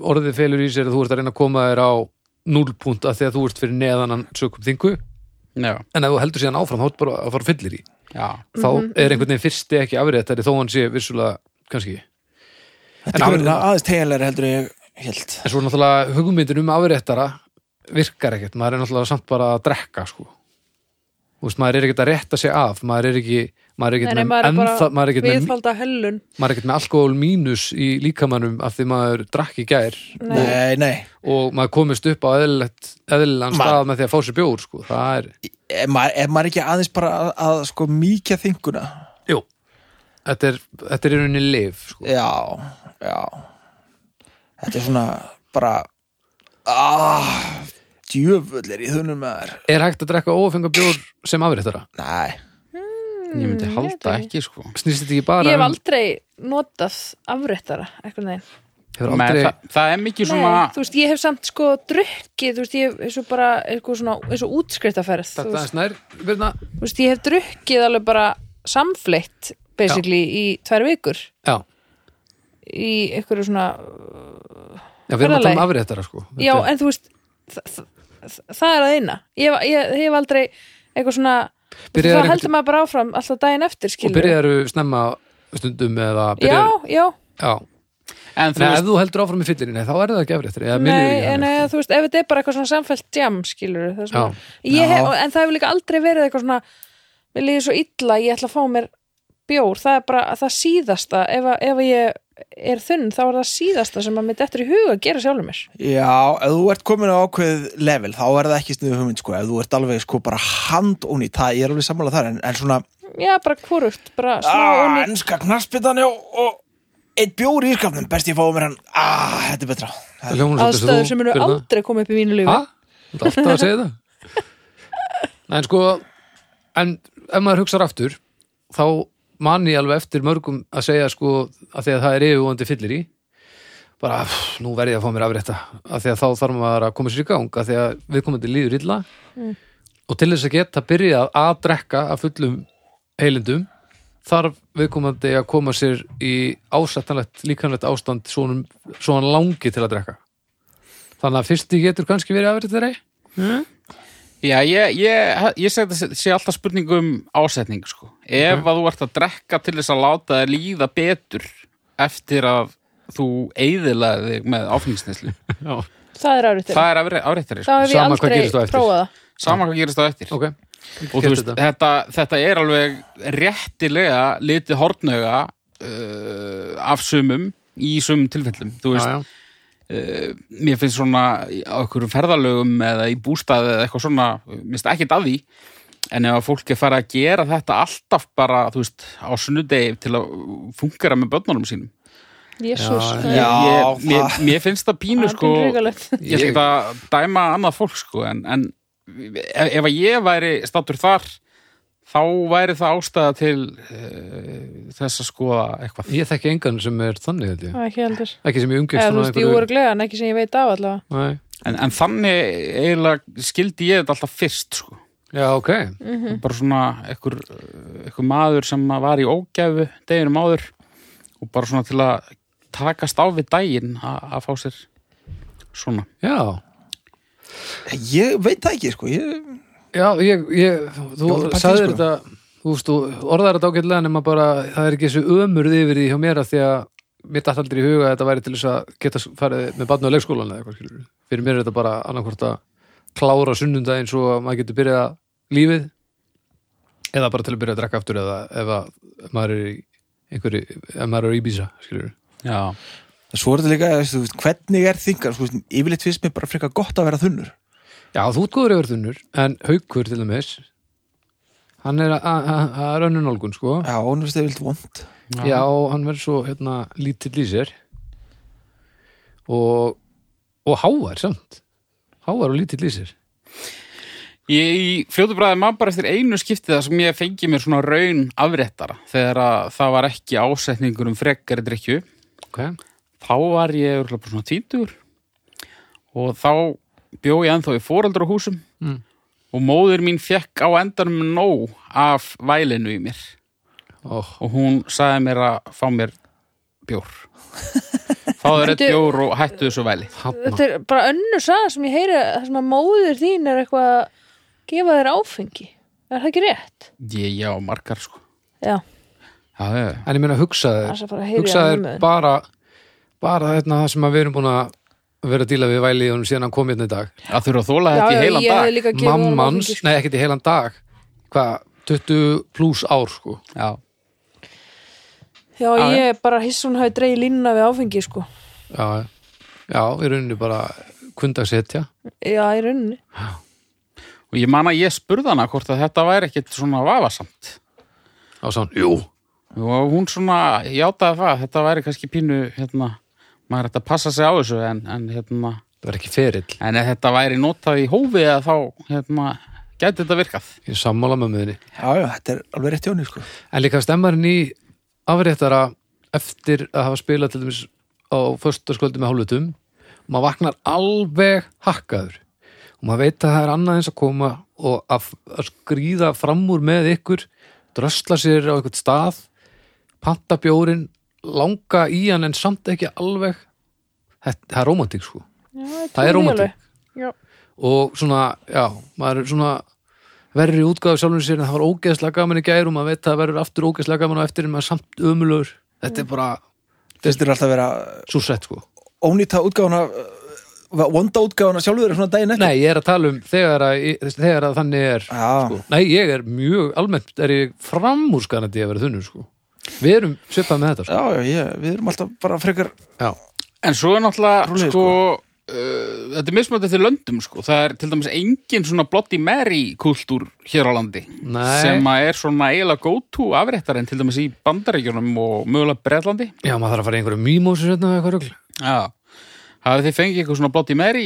orðið felur í sér að þú ert að reyna að koma þér á núlpunt af því að þú ert fyrir neðan hann sökum þingu
já,
en ef þú heldur síðan áfram þá ert bara að fara fyllir í
já
þá
Mhm,
er einhvern veginn fyrsti ekki afréttari þó hann sé vissulega kannski
þetta er
afréttara-
komin aðeins teginlega heldur en ég held
en svo náttúrulega hugmyndin um afréttara virkar ekkert, maður er náttúrulega samt bara að drekka sko Þú veist, maður er ekkert að rétta sig af maður er ekki maður er ekkert
Nei, nei,
með,
maður er
ennþá-
bara
maður er ekkert með,
viðfalda hellun.
maður er ekkert með alkohol mínus í líkamannum af því maður drakk í gær
nei, nei,
og maður komist upp á eðlilegt eðlilegan
Maður-
stað með því að fá sér bjór sko. það er,
ef maður, ef maður ekki aðeins bara að, að sko mýkja þinguna
jú þetta er, þetta er í rauninni lif sko.
já, já þetta er svona bara aah djöfull er í þunum maður
er hægt að drekka ófengar bjór sem afréttara
nei,
ég myndi halda
Mm, veit
ekki sko.
snýst þetta ekki bara
Ég hef
um-
aldrei notað afréttara, eitthvað neginn.
hefur
Men,
aldrei,
það, það er mikið svona
Nei, þú veist, ég hef samt sko drukkið, þú veist, ég hef eins og bara eitthvað svona, eins og útskriftaferð. þú
þetta
veist.
er snær Birna.
Þú veist, ég hef drukkið alveg bara samfleitt, basically, í tvær vikur.
já,
Í einhverju svona
já, við erum að tala um
Ferðalagi.
afréttara sko. Þetta
Já,
er-
en þú veist þa- þa- þa- það er að eina ég, hef- ég, ég hef aldrei eitthvað svona
Byrjaðir
þá
einhvern
heldur maður bara áfram alltaf daginn eftir
og
skilur
byrjaðu snemma stundum eða
Já,
byrjaðu,
já,
já.
en þú
Nei, ef
veist,
þú heldur áfram í fyllinni, nei, þá er það ekki afréttir eða minnir
Nei,
ekki
en
afréttir.
eða, þú veist, ef þetta er bara eitthvað svona samfellt jam, skilur það er svona,
Já.
ég hef, en það hefur líka aldrei verið eitthvað svona, mér líður svo illa ég ætla að fá mér bjór það er bara það síðasta, ef, að- ef að ég er þunn, þá er það síðasta sem að mér dettur í huga að gera sjálfur mér
Já, ef þú ert komin á ákveð level þá er það ekki sniðu hugmynd sko ef þú ert alveg sko bara handónýtt það ég er alveg sammála þar en, en svona
já, bara hvort, bara smá
ah,
onni
ennska knarsbyttan já og eitt bjór í skapnum best ég fáið mér hann ah, þetta er betra
Það hljómar svolítið
aðstæður
þú
sem eru
byrðir það.
aldrei komið upp í mínu lífi
Hæ? Þú ert alltaf að segja það? Nei, en sko, en ef maður hugsar aftur, þá man ég alveg eftir mörgum að segja sko að því að það er yfirvóandi fyllir í, bara pff, nú verði ég að fá mér afrétta, að því að þá þarf maður að koma sér í gang, að því að viðkomandi líður illa og til þess að geta byrjað að drekka af fullum heilindum, þarf viðkomandi að koma sér í ásættanlegt, líkanlegt ástand svona, svona langi til að drekka. Þannig að fyrsti getur kannski verið afrið þeirra
já, ég, ég, ég segi þetta sé alltaf spurningu um ásetning sko. ef að þú ert að drekka til þess að láta þér líða betur eftir að þú eyðilaði þig með
[LAUGHS]
áfengisneslu
það er árið
það er áreittari
þá
sko.
hef ég
Sama hvað
aldrei
gerist á eftir.
prófað það
sama hvað gerist það eftir
Ok,
og þú veist,
þetta.
þetta, þetta er alveg réttilega litið hornauga uh, af sumum í sumum tilfellum þú veist,
já, já.
mér finnst svona á einhverjum ferðalögum eða í bústaði eða eitthvað svona, mér finnst ekkert að því en ef að fólk er farið að gera þetta alltaf bara, þú veist, á sunnudegi til að fungera með börnunum sínum
Jésús,
Já,
það
já.
er
ég, mér,
það-
mér finnst það
það
pínu
er
sko,
pínu hrikalegt.
ég skal
Ég-
ekki að dæma annað fólk sko, en, en ef ef að ég væri stattur þar þá væri það ástæða til uh, þess að skoða eitthvað
Ég þekki engan sem er þannig held ég.
Það er ekki heldur
Ekki sem ég umgengst
eða þú
svona
veist, ég voru glegan, ekki sem ég veit af allavega
Nei.
en, en þannig eiginlega skildi ég þetta alltaf fyrst sko.
Já, ok
Mm.
bara svona einhver, einhver maður sem að var í ógæfu deginum áður og bara svona til að takast á við daginn a, að fá sér svona
Já,
ég veit það ekki sko ég,
já ég, ég, þú
Góður pakki,
sagðir
sko.
þetta Þú veist, þú orðar þetta ágætlega nema bara það er ekki þessu ömurð yfir því hjá mér að því að mér dætt aldrei í huga að þetta væri til þess að geta farið með barnu á leikskólan eða eitthvað skilur Fyrir mér er þetta bara annarkvort að klára sunnundaginn svo að maður getur byrjað lífið eða bara til að byrja að drekka aftur eða ef að ef maður er í einhverju, ef maður er í Ibiza skilur
Já,
svo er þetta líka þú veist, hvernig er þingar sko, yfirleitt finnst mér bara frekar gott að vera þunnur
Já, þú ert góður yfir þunnur, en haukur til dæmis, hann er að- að að- að rönnu nálgun, sko.
já, hún finnst það vilt vond
já.
Já, hann verður svo hérna lítill í sér og, og hávar samt. Hávar og lítill í sér.
Ég í fljótu bræði maður bara eftir einu skipti það sem ég fengi mér svona raun afréttara þegar að það var ekki ásetningur um frekari drikju
Ok,
þá var ég örugglega bara svona tvítur og þá bjó ég ennþá í fóraldrahúsum
Mm.
og móðir mín fekk á endanum nóg af vælinu í mér
og
og hún sagði mér að fá mér
[LAUGHS]
bjór fá þér eitt
Bíddu.
bjór og hættu þessu væli
hafna.
Þetta er bara önnur saga sem ég heyri það sem að móðir þín er eitthvað að gefa þér áfengi. Er það ekki rétt?
ég já, margar sko
Já,
Eh,
já, já, já.
En ég meina hugsaður,
það er bara að heyri
hugsaður bara, bara hérna, það sem að við erum búin að vera að díla við væli og síðan hann kom hérna í dag.
að þurfa að þóla
Já,
þetta í
já,
heilan
ég hefði
dag
líka gefið honum
Mammans,
áfengi, sko.
nei ekkert í heilan dag, hvað, 20 pluss ár, sko.
já.
Já,
Já, já.
ég er bara hiss hún hafi dreigð línuna við áfengi, sko.
já, já. já, í rauninni bara kundagsetja
Já, í rauninni.
og ég man að ég spurði hana hvort að þetta væri ekkit svona vafasamt
á sann, jú
og hún svona játaði það að þetta væri kannski pínu hérna, maður ætti að passa sig á þessu en, en hérna
það var ekki ferill,
en ef þetta væri notað í hófi eða þá hérna, gæti þetta virkað
ég er sammála með möðinni
já, já, þetta er alveg rétt hjóni sko
en líka stemmarinn í afréttara eftir að hafa spilað til dæmis á föstaskvöldi með hálfutum og maður vaknar alveg hakkaður og maður veit að það er annað eins að koma og að, að skrýða fram úr með ykkur drösla sér á eitthvað stað panta bjórin, langa í hann en samt ekki alveg þetta, það er romantík sko
Já, ég
Það er
trúi því
rómantík.
alveg. Já.
og svona, já, maður er svona verri útgáðu sjálfum sér en það var ógeðslega gaman í gær og maður veit að það verður aftur ógeðslega gaman á eftir en maður er samt ömulögur þetta er bara
finnst þér alltaf að vera
súsett sko
ónýta útgáfuna vonda útgáfuna sjálfur er svona daginn eftir
Nei, ég er að tala um þegar að, þegar að þannig er
Já.
sko. Nei, ég er mjög, almennt er ég framúrskanandi að vera þunnur sko Við erum svipað með þetta sko.
já, já, ég, við erum alltaf bara frekar
Já,
En svo er náttúrulega
Rúlið,
sko, uh, þetta er mismöndið til löndum sko. það er til dæmis engin svona Bloody Mary kultúr hér á landi
Nei.
sem að er svona eiginlega go-to afréttar en til dæmis í bandaríkjunum og mögulega bretlandi
Já maður þarf að fara í einhverju mýmósu sérna eða eitthvað rögl
Já, hafið þið fengið eitthvað svona Bloody Mary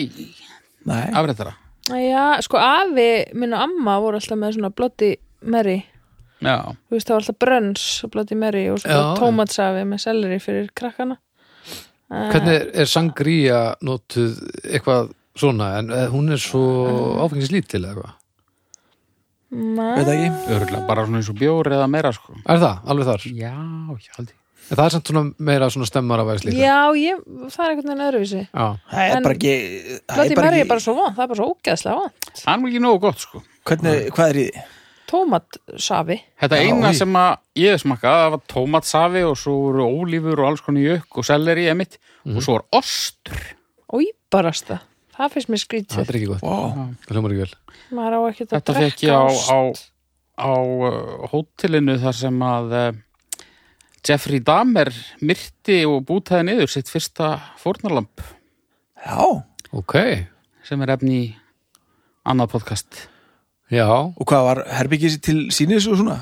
Nei.
afréttara?
Já, sko afi minn og amma voru alltaf með svona blotti Mary
Já,
þú veist það var alltaf brönns og blotti Mary og svo
Já.
tómatsafi með selleri fyrir krakkana
Hvernig er, er sangría notuð eitthvað svona en eh, hún er svo áfengislítil eða eitthvað
Ma-
veit það ekki
örgulega bara svona eins og bjór eða meira sko
Er það, alveg þar?
Já, ég held ég
En það er samt svona meira svona stemmar að vera slíka
Já, ég, það er einhvern veginn öðruvísi
Já.
það
En
er bara ekki, það
Blotti
er bara
Mary
ekki
er bara svo vant, það er bara svo ógeðslega vant
Það er nú ekki nógu gott sko
hvernig, hvað er í því?
Tómatsafi
Þetta
Já,
eina
í.
sem að ég smakkaði það var tómatsafi og svo voru ólífur og alls konu jökk og selleri emitt og svo var ostur
og íbarasta það finnst mér
Það
skrítið
er ekki gott,
Wow.
það hljómar ekki vel
maður á ekkert að
Þetta fekk ég
drekka
á,
ost.
á, á uh, hótelinu þar sem að uh, Jeffrey Dahmer myrti og bútaði niður sitt fyrsta fórnarlamp
já, og
Ok,
sem er efni í annað podcast
já,
hvað var herbyggis til sínis og svona?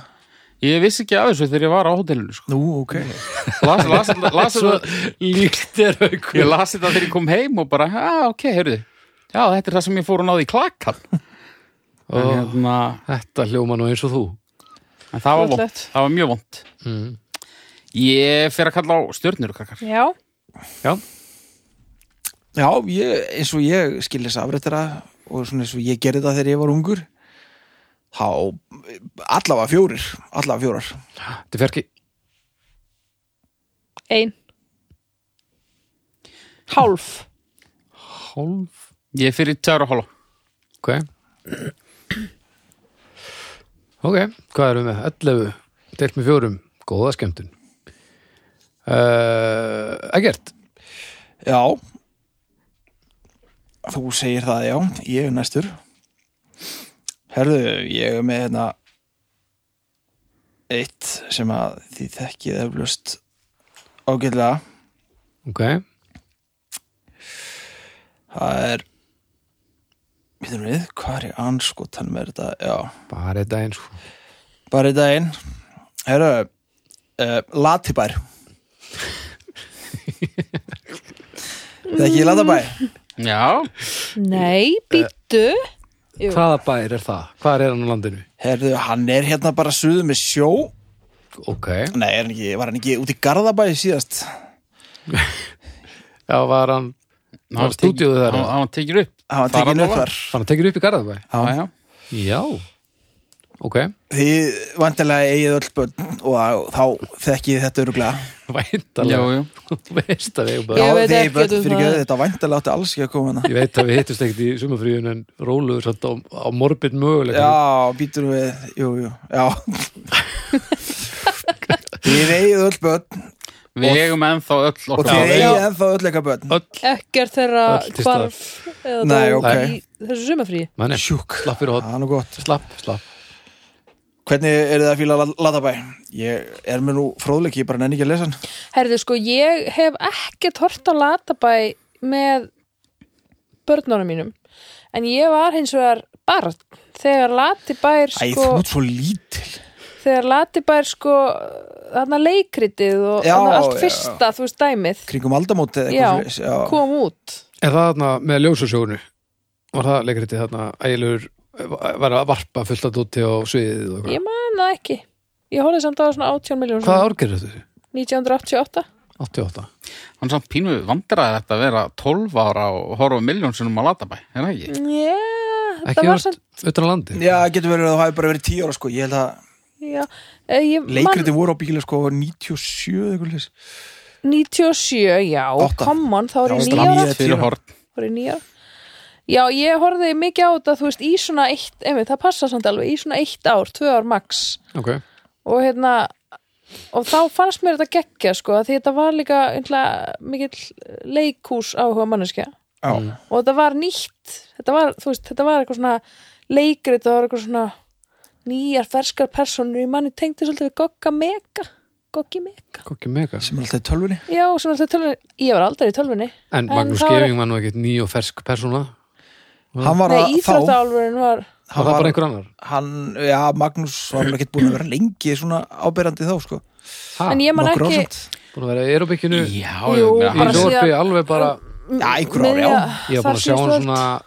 Ég vissi ekki að þessu þegar ég var á hótelinu sko.
nú, ok
las, las,
[LAUGHS]
las, las,
Svo-
las,
líkt er aukur
Ég las þetta þegar ég kom heim og bara, já, ok, heyrðu Já, þetta er það sem ég fór og náði í klakkan en,
Ó.
hérna,
Þetta hljóma nú eins og þú
en það var vond,
Fallegt.
það var mjög vond
mm.
Ég fer að kalla á stjörnur, krakkar
já,
Já,
Já, ég, eins og ég skil þess afrættara og svona eins og ég gerði það þegar ég var ungur þá eh, allavega fjórir allavega fjórar
þetta fer ekki
ein hálf
hálf
Ég fer í tjára hálfa
Ok Ok, hvað erum við með? 11 delt með fjórum, góða skemmtun uh, Ekkert
Já Þú segir það, já, ég er næstur Herðu, ég er með hérna eitt sem að þið þekkið eflust ágætlega
Ok,
það er við þurfum við, hvað er ég anskotan með þetta, já
bara þetta eins og
bara í daginn Herra, uh, Latibær Það er ekki Latibær
Já,
nei,
Eh,
býttu Jú.
Hvaða bær er það? Hvað er hann á landinu?
Herðu, hann er hérna bara suðu með sjó
Ok,
Nei, er hann ekki, var hann ekki út í Garðabæ síðast
já var hann Var
var tekið-
stúdíóið þar,
hann-
eða?
hann tekið upp
Hann var
Þar
tekinn upp
allavega.
þar
Þannig að tekir upp í Garðabæ?
Já, já
Já Ok,
Þið vantilega eigið öll börn og þá þekkið þið þetta öruglega
væntalega
Jú, jú.
Þú veist að við eigum bara
Ég
Já,
veit
þið
ekkert
börn
um
fyrir
það.
ekki þetta vantilega átti alls ekki að koma hana
Ég veit að við hittumst ekkert í sumafríðun en róluður svolítið á, á morbid
um
möguleika
Já, býtur við, jú, jú,
[LAUGHS]
já Þið eigið öll börn
Við eigum ennþá öll
og
okkar
þið
Já,
eigið ennþá öll eitthvað börn
Öll
ekkert þeirra
Öll til staðar.
hvarf eða
Nei,
dó
ok.
í þessu sumafríi
Manni,
Sjúk.
slapp fyrir hot,
Það er nú gott.
slapp, slapp
Hvernig er það að fíla Lat- Latabæ? Ég er með nú fróðleik, ég bara nenni ekki að lesa hann.
herðu sko, ég hef ekkert hort á latabæ með börnunum mínum en ég var hins vegar barn þegar latibær
Æ,
sko
þú ert svo lítil.
þegar Latibær sko þarna leikritið og
Já,
þarna allt
já.
fyrsta, þú veist, dæmið
Kringum aldamóti
já,
eða eitthvað. svoleiðis, já.
kom út
Er það þarna með ljósusjónu? Var það leikritið þarna ægilegur var að varpa fullt að dóti á sviðið og eitthvað
ég man það ekki ég horfði samt á það svona 18 miljón
Hvað árgerðu þetta?
1988
88
Hann samt pínu vandræði þetta að vera 12 ára og horfa miljónsunum að latabæ, er það ekki?
já,
Ekki
það var samt
vart utan á landi
Já, getur verið að það hafi bara verið tíu ára sko. Ég held að
já, eh, ég, man,
leikritin voru á bíla sko 97 eða eitthvað leys.
97, já,
Átta.
come on það var
Já,
ég nýja ára
ég-
Stramt fyrir horn.
voru nýja já, ég horfði mikið á þetta, þú veist, í svona eitt einmitt, það passa samt alveg, í svona eitt ár, tvö ár max
Ok,
og hérna og þá fannst mér þetta geggja sko af því þetta var líka einhverja mikill leikús áhuga manneskja
já,
Mm.
og þetta var nýtt þetta var, þú veist, þetta var eitthvað svona leikrit, það var eitthvað svona nýjar ferskar personur í manni tengdi svolítið við Gogga Mega Goggi Mega,
kokki mega
sem er alltaf í tölvunni
já, sem alltaf tölvunni ég var aldrei í tölvunni
en Magnús
þá er-
Geving var nú ekkert ný og fersk persóna
hann var
Nei,
að þá
íþróttaálfurinn var
Mm. það var bara einhver annar
hann, já, Magnús var vel ekkert búin að vera lengi svona áberandi þá sko
ha,
en ég man
nokkur
ekki
ásamt.
búin að vera í aeróbikinu í
Já,
Jú,
ég meina,
bara
hann-
síðan-
Lorpi alveg bara
já, einhver ári,
miðja-
já
ég var búin
þar
að sjá hann
síðustu
svona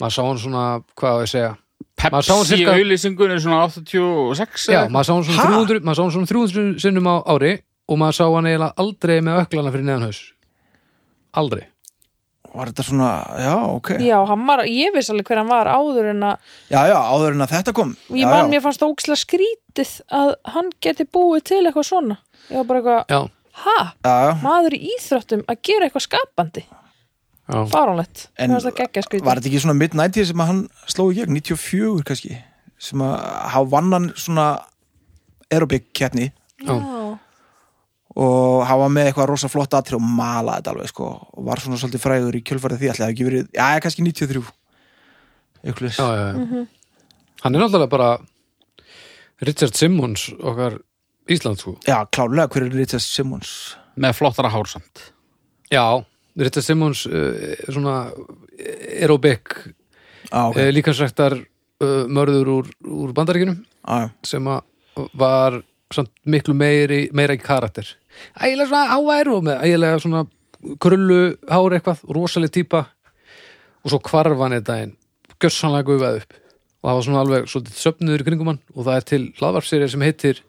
maður sá hann svona, hvað á ég að segja Maður sá hann
Pepsi
cirka-
auðlýsingunni svona 86
já,
eða
maður sá hann svona
Ha?
300 maður sá hann svona 300 sinnum á ári og maður sá hann eiginlega aldrei með öklana fyrir neðan haus aldrei
var þetta svona, já, ok
öll. já, hann var, ég vissi alveg hver hann var áður en að
já, já, áður en að þetta kom
ég
já,
man,
já.
mér fannst það ókslega skrítið að hann geti búið til eitthvað svona ég var bara eitthvað,
já,
ha,
já, já.
maður í íþróttum að gera eitthvað skapandi
já,
fáránlegt,
En
mér fannst það geggja skrítið
Var þetta ekki svona mid-90 sem að hann sló í gegn 94 kannski sem að hafa vann hann svona aerobik keppni
já,
já,
og hafa með eitthvað rosa flott atri og mala þetta alveg sko og var svona svolítið frægur í kjölfarið því ætli það hafi ekki verið, já, kannski 93 ykkur
já, já, já. hann er náttúrulega bara Richard Simmons okkar Ísland sko
Já, klálega, hver er Richard Simmons?
með flottara hár samt
já, Richard Simmons uh, er svona eh, aerobik
Já, ok,
okay. líkansræktar uh, mörður úr, úr bandaríkinum
já, já.
sem að var samt miklu meiri, meira í karakter ægilega svona áæru og með ægilega svona krullu hár eitthvað rosaleg típa og svo hvarf hann þetta en gjössanlega gufaði upp og það var svona alveg svolítið söfnuður í kringum hann og það er til hlaðvarpserið sem heitir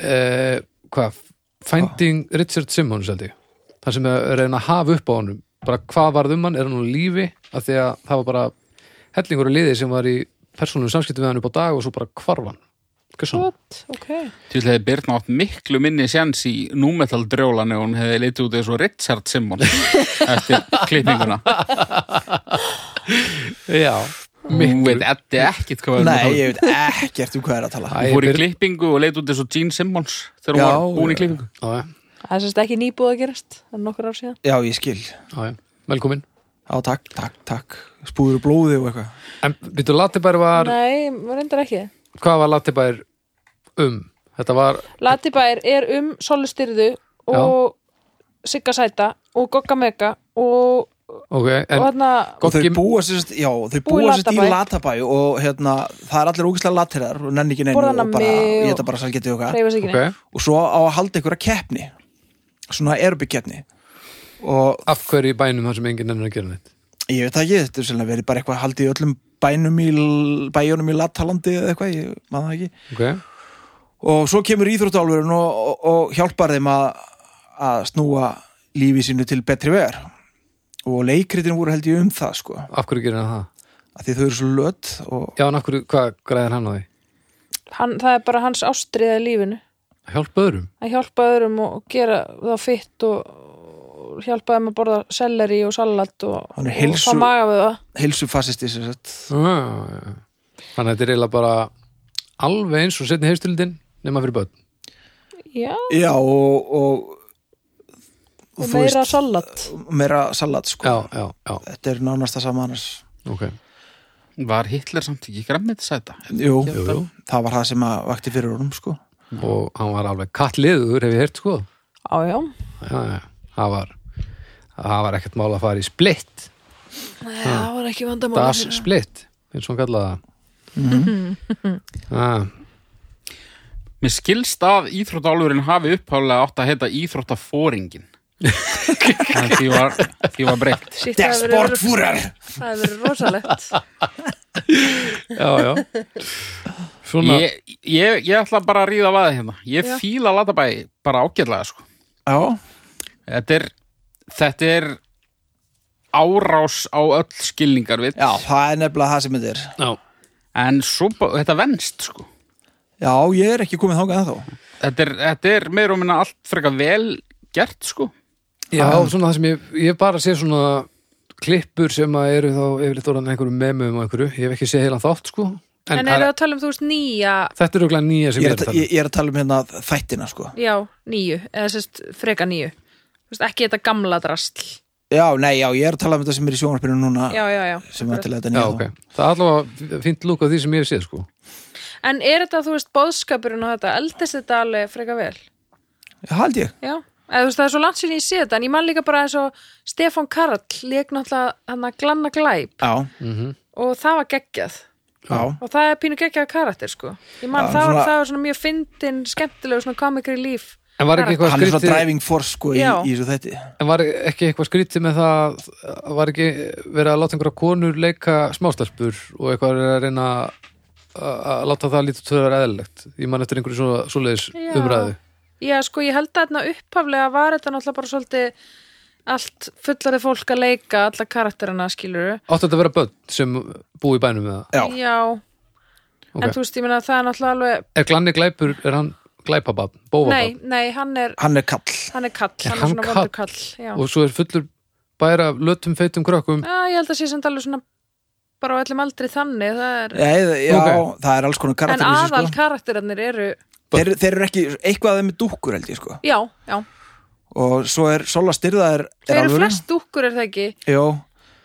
eh, hvað Finding
Ah.
Richard Simmons held ég þar sem er reyna að hafa upp á honum bara hvað varð um hann, er hann á lífi af því að það var bara hellingur og liði sem var í persónum samskiptum við hann upp á dag og svo bara hvarf hann Gjössan.
gott, ok
Til þess að hefði Birna átt miklu minni sjans í númetal drjólan ef hún hefði litið út eins og Richard Simmons [LAUGHS] eftir klippinguna
Já,
Hún veit eddi ekkit hvað við erum að
Nei,
tala um.
ég veit ekkert um hvað er að
Æ,
tala
Hún fór í
Birna-
klippingu og leit út eins og Gene Simmons þegar hún
Já,
var búin í
já.
klippingu
já, já,
það er sérst ekki nýbúið að gerast, það er nokkur ár síðan
Já, ég skil
já, já. velkomin
Já, takk, takk, takk Spúður og blóði og eitthvað
En byrju, Latibær var,
nei, maður reyndar ekki
hvað var Latibær um? Þetta var,
Latibær er um solustyrðu og Sigga Sæta og Gogga Mega og,
ok,
hérna og
en
þarna
Og
Goggi-
þau búa sérst, já, þau
Búa í
búa sérst í
Latabæ.
Latabæ og hérna, það er allir ógislega latirðar og nenni ekki neinu
Borða
og bara,
nammi og-
ég þetta bara sælgetið og eitthvað
reyfa sig
ok,
ekki
og svo á að halda einhverja keppni svona erbyggkeppni og
af hverju í bænum þar sem enginn ennur að gera neitt?
ég veit það ekki, þetta er sérlega verið bara eitthvað haldið í öllum bænum í L- bæjunum í Latalandi eða eitthvað, ég maður það ekki
Ok,
og svo kemur íþróttálfurinn og, og, og hjálpar þeim að, að snúa lífi sínu til betri vegar og leikritin voru held ég um það sko,
af hverju gerir hann það?
að því þau eru svo lött og
Já, en af hverju, hvað græðir hann á því?
hann, það er bara hans ástriða í lífinu
Að hjálpa öðrum?
að hjálpa öðrum og gera það fytt og og hjálpa þeim að borða selleri og salat og,
Hann er
og
heilsu-
fá maga við það
heilsufasisti sem sagt,
Já, já, já. Þannig að þetta er eiginlega bara alveg eins og setni heimstöldin nema fyrir börn.
já,
já og og,
og
þú
meira salat
meira salat sko,
Já, já, já,
þetta er nánast það sama annars
ok.
Var Hitler samt ekki græmmið þess að þetta?
jú,
Jú, jú.
það var það sem að vakti fyrir honum sko
Og hann var alveg kattliður, hef ég heyrt sko.
á já,
Já, já, það var, það var ekkert mál að fara í splitt.
það var ekki vandamál
Das splitt, eins og hann kallaði Ah. það.
Mér skilst að íþróttálfurinn hafi upphálega átt að heita
[LAUGHS]
íþróttafóringin en því var, því var breytt
Sitt,
Der
það hefur verið-
Sportfúrer
það hefur verið rosalegt
Já, já, já. Svona,
ég, ég, ég ætla bara að ríða að vaða hérna Ég
Já.
fíla Latabæ bara ágætlega sko
Já,
Þetta er, þetta er árás á öll skilningar við
já, það er nefnilega það sem þetta er
já,
en svo, ba- þetta venst sko
Já, ég er ekki komið þangað ennþá
þetta er, þetta er meira og minna allt frekar vel gert sko
já, svona það sem ég, ég bara sé svona klippur sem að eru þá yfirleitt orðan einhverjum memum og einhverju. Ég hef ekki séð heilan þátt sko, En,
En
það
eru
er,
að tala um, þú veist, nýja
þetta er auðvitað nýja sem ég er
ég er, að,
að
ta-
tala um.
ég, ég er að tala um hérna þættina sko
Já, nýju, eða sérst freka nýju Þú veist, Ekki þetta gamla drastl
já, nei, já, ég er að tala um þetta sem er í sjónvarpinu núna
Já, já, já
sem er til þetta
Já,
nýja
ok. Það er allavega fínt lúk af því sem ég hef séð, sko.
En er þetta, þú veist, bóðskapurinn og þetta eldist þetta alveg freka vel?
já, hald ég
Já, eða þú veist, það er svo langt sér ég sé þetta en ég man líka bara eins og Stefán Karl leik náttúrulega hann að glanna glæp
já,
og það var geggjað
já,
og það er pínu geggjað karakter, sko Ég man, það,
Já,
var,
svona-
það var svona mjög fyndin, skemmtilegur svona komikri líf
En var ekki eitthvað
hann er svona
skrítið,
driving force sko í,
Já.
í þessu þætti
en var ekki eitthvað skrítið með það, að var ekki verið að láta einhverja konur leika smástelpur og eitthvað er að reyna að að láta það lítið töður eðlilegt. Ég man eftir einhverju svo, svoleiðis
Já.
umræðu.
Já, sko, ég held að þarna upphaflega var þetta náttúrulega bara svolítið allt fullari fólk að leika alla karakterina, skilur
Áttu þetta að vera börn sem búi í bænum með það?
já,
Ok.
en þú veist, ég meina það er náttúrulega alveg
Er glanni glæpur, er hann glæpabab, bófabab?
Nei, nei, hann er,
hann er kall
hann er kall, hann er
hann
svona
kall?
vondur kall Já,
Og svo er fullur bæra af lötum feitum krökkum.
Já, ég held að sé sem alveg svona bara á öllum aldri þannig það er...
já, já
Ok.
það er alls konar
en
karakter í þessu,
aðal
sko.
karakterarnir eru
þeir, þeir eru ekki, eitthvað af þeim er dúkkur held ég sko
já, já,
og svo er Sola Styrða er,
þeir
er
eru
alvöru
flest dúkkur er það ekki
Jó,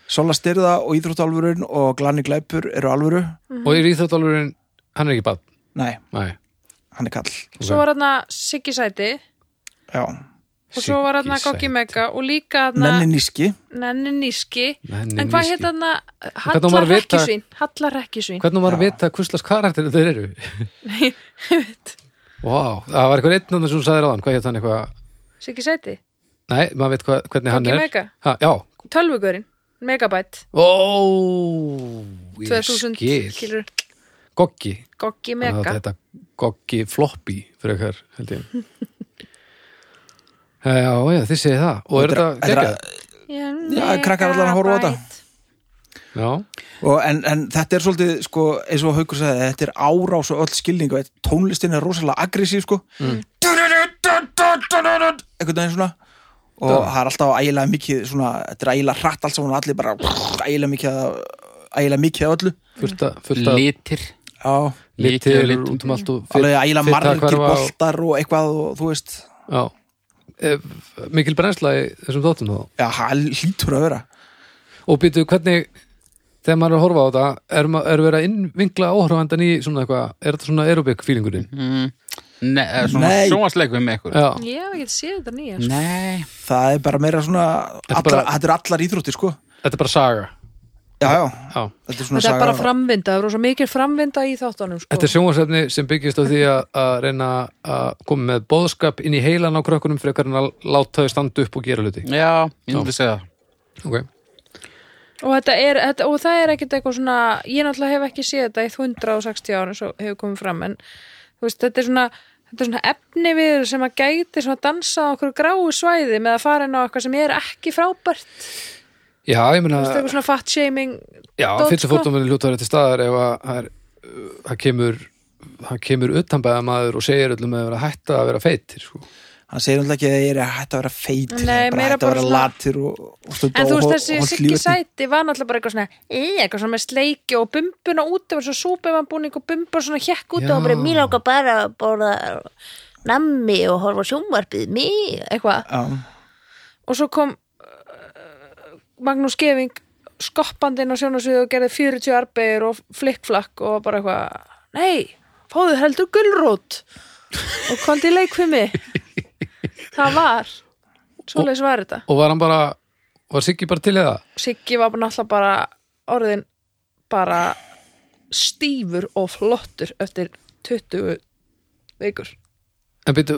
Sola Styrða og Íþróttalvurinn og Glanni Glæpur eru alvöru
Mhm.
Og er íþjóttalurinn, hann er ekki bab?
Nei,
Nei.
hann er kall
svo var þarna Siggi Sæti
Já,
og svo var þarna
Siggi
Gokki
Sæti.
Mega og líka
nenni
þarna
níski
Nenni Níski
Nenni
en hvað
Níski.
heit þarna
hvernig á maður
Hallar
að vita-
Rekkjusvín Hallar Rekkjusvín
Hvernig á maður að vita hvurslags karakter þeir eru? Vá, það var eitthvað einn annars sem þú sagði ráðan, hvað hétt hann eitthvað?
Siggi Sæti,
Nei, maður veit hvað, hvernig hann
Gangi
er.
Mega.
Ha, já.
tölvugurinn Megabæt,
Ó, ég
2000
skil.
kilur
Goggi.
Gokki
Þannig að
Mega
Þetta Goggi floppy fyrir eitthvað, held ég.
[LAUGHS]
Eh, já, já, þið segið það. Og er
Þetta-
þetta geggjað?
Já, krakkar allan að horfa á þetta.
Megabyte.
Já,
og, en, en þetta er svolítið, sko, eins og Haukur sagði þetta er árás og öll skilning og tónlistin er rosalega aggressív, sko mm. einhvern veginn svona og það er alltaf ægilega mikið svona, þetta er ægilega hratt allt saman og allir bara ægilega mikið að- ægilega mikið af öllu
fullt að, fullt að
litir
Já,
Liti og
litir
litum.
út um allt og
alveg ægilega
fita
margir
hverfa og-
boltar og eitthvað og þú veist
Já. Eh, Mikil brennsla í þessum þáttum þá.
Já, hann hlýtur að vera
Og býtu, hvernig þegar maður er að horfa á þetta, er, ma- er verið að innvinkla áhrafandan í svona eitthvað er þetta svona aerobik feelingurinn?
mm, ne, eh, svona
Nei.
sjónvarsleikum með ykkur
Já,
Ég hef ekki séð þetta nýja sko.
Nei,
Það er bara meira svona
Þetta er
allar,
bara-
Þetta er allar íþróttir sko
þetta er bara saga
Já, já,
Já.
þetta er
Þetta
svona
er
saga
bara framvinda, það er rosa mikil framvinda í þáttunum sko.
Þetta er sjónvarsefni sem byggist á því að, að reyna að koma með bóðskap inn í heilan á krökkunum frekar en að láta þau standa upp og gera hluti
já, ég myndi segja það
okay.
og, þetta er, þetta, og það er ekkert eitthvað svona ég náttúrulega hef ekki séð þetta í 160 ára eins og hefur komið fram en þú veist, þetta er svona þetta er svona efni við sem að gæti svona dansa á okkur gráu svæði með að fara inn á eitthvað sem er ekki frábært Þú veist,
Já, ég meina
eitthvað svona fat shaming
Já,
dót,
fyrstu
sko.
fótuminn hljóta verið til staðar ef að það er- það kemur það kemur utanbæða maður og segir öllum að vera hætta að vera feitir sko.
Hann segir náttúrulega ekki að ég er hætt að vera
Nei,
feitir það
meira
er bara hætt að
bara
vera
svona-
latir og, og stunda
en þú
og
veist
hol-
þessi
holt
Siggi
líferni.
Sæti var náttúrulega bara eitthvað svona "Í", eitthvað svona með sleiki og bumbuna út það var svo súpefanbúning og bumba svona hjekk út
Já.
og bara
Mér langar bara að borða nammi og horfa á sjónvarpið mig.
eitthvað
Já,
og svo kom uh, Magnús Geving skoppandi inn á sjónasvið og gerði 40 arbeigir og flikkflakk og bara eitthvað nei, fáðu heldur gulrót og komði í leik við mig það var svoleiðis var þetta
Og var hann bara, var Siggi bara til í það?
Siggi var bara náttúrulega bara orðin bara stífur og flottur eftir 20 vikur
En byrju,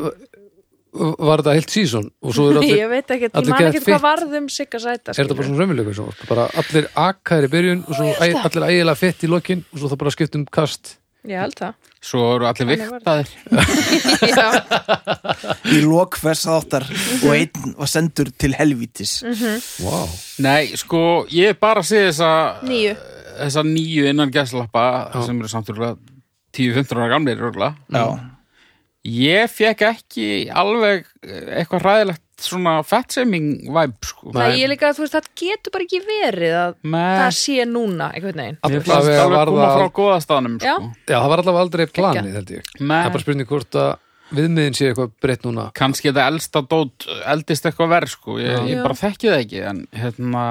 var þetta heilt sísón? Og
[LAUGHS]
svo er allir
ég veit ekki, ég
allir
man
geðveikt
ekki hvað
fitt.
varð um Sigga Sæta
Er þetta bara svona raunveruleikur sem orð? Bara allir akkar í byrjun og svo æ, allir ægilega fett í lokin og svo það bara skipt um kast
ég held það
Svo eru allir
var
viktaðir
Já.
í lok hvers þáttar
Mhm.
og einn var sendur til helvítis
Vá,
Nei, sko, ég hef bara séð þessa
nýju
þessa nýju innan gæslappa sem eru samtúrulega 10-15 ára gamlir rúglega.
Já,
Ég fekk ekki alveg eh, eitthvað hræðilegt svona fat-shaming vibe sko.
Það er líka, þú veist, það getur bara ekki verið að það
Nei,
sé núna einhvern veginn.
mér
Alla
finnst
vega
alveg
var
að koma
það-
frá góðastanum
Já.
sko.
Já, það var allavega aldrei planið, held ég. Það er
Nei,
bara spurning hvort að viðmiðin sé eitthvað breytt núna.
kannski þetta elsta dót eldist eitthvað verð sko. ég,
Já.
ég bara þekki það ekki en hérna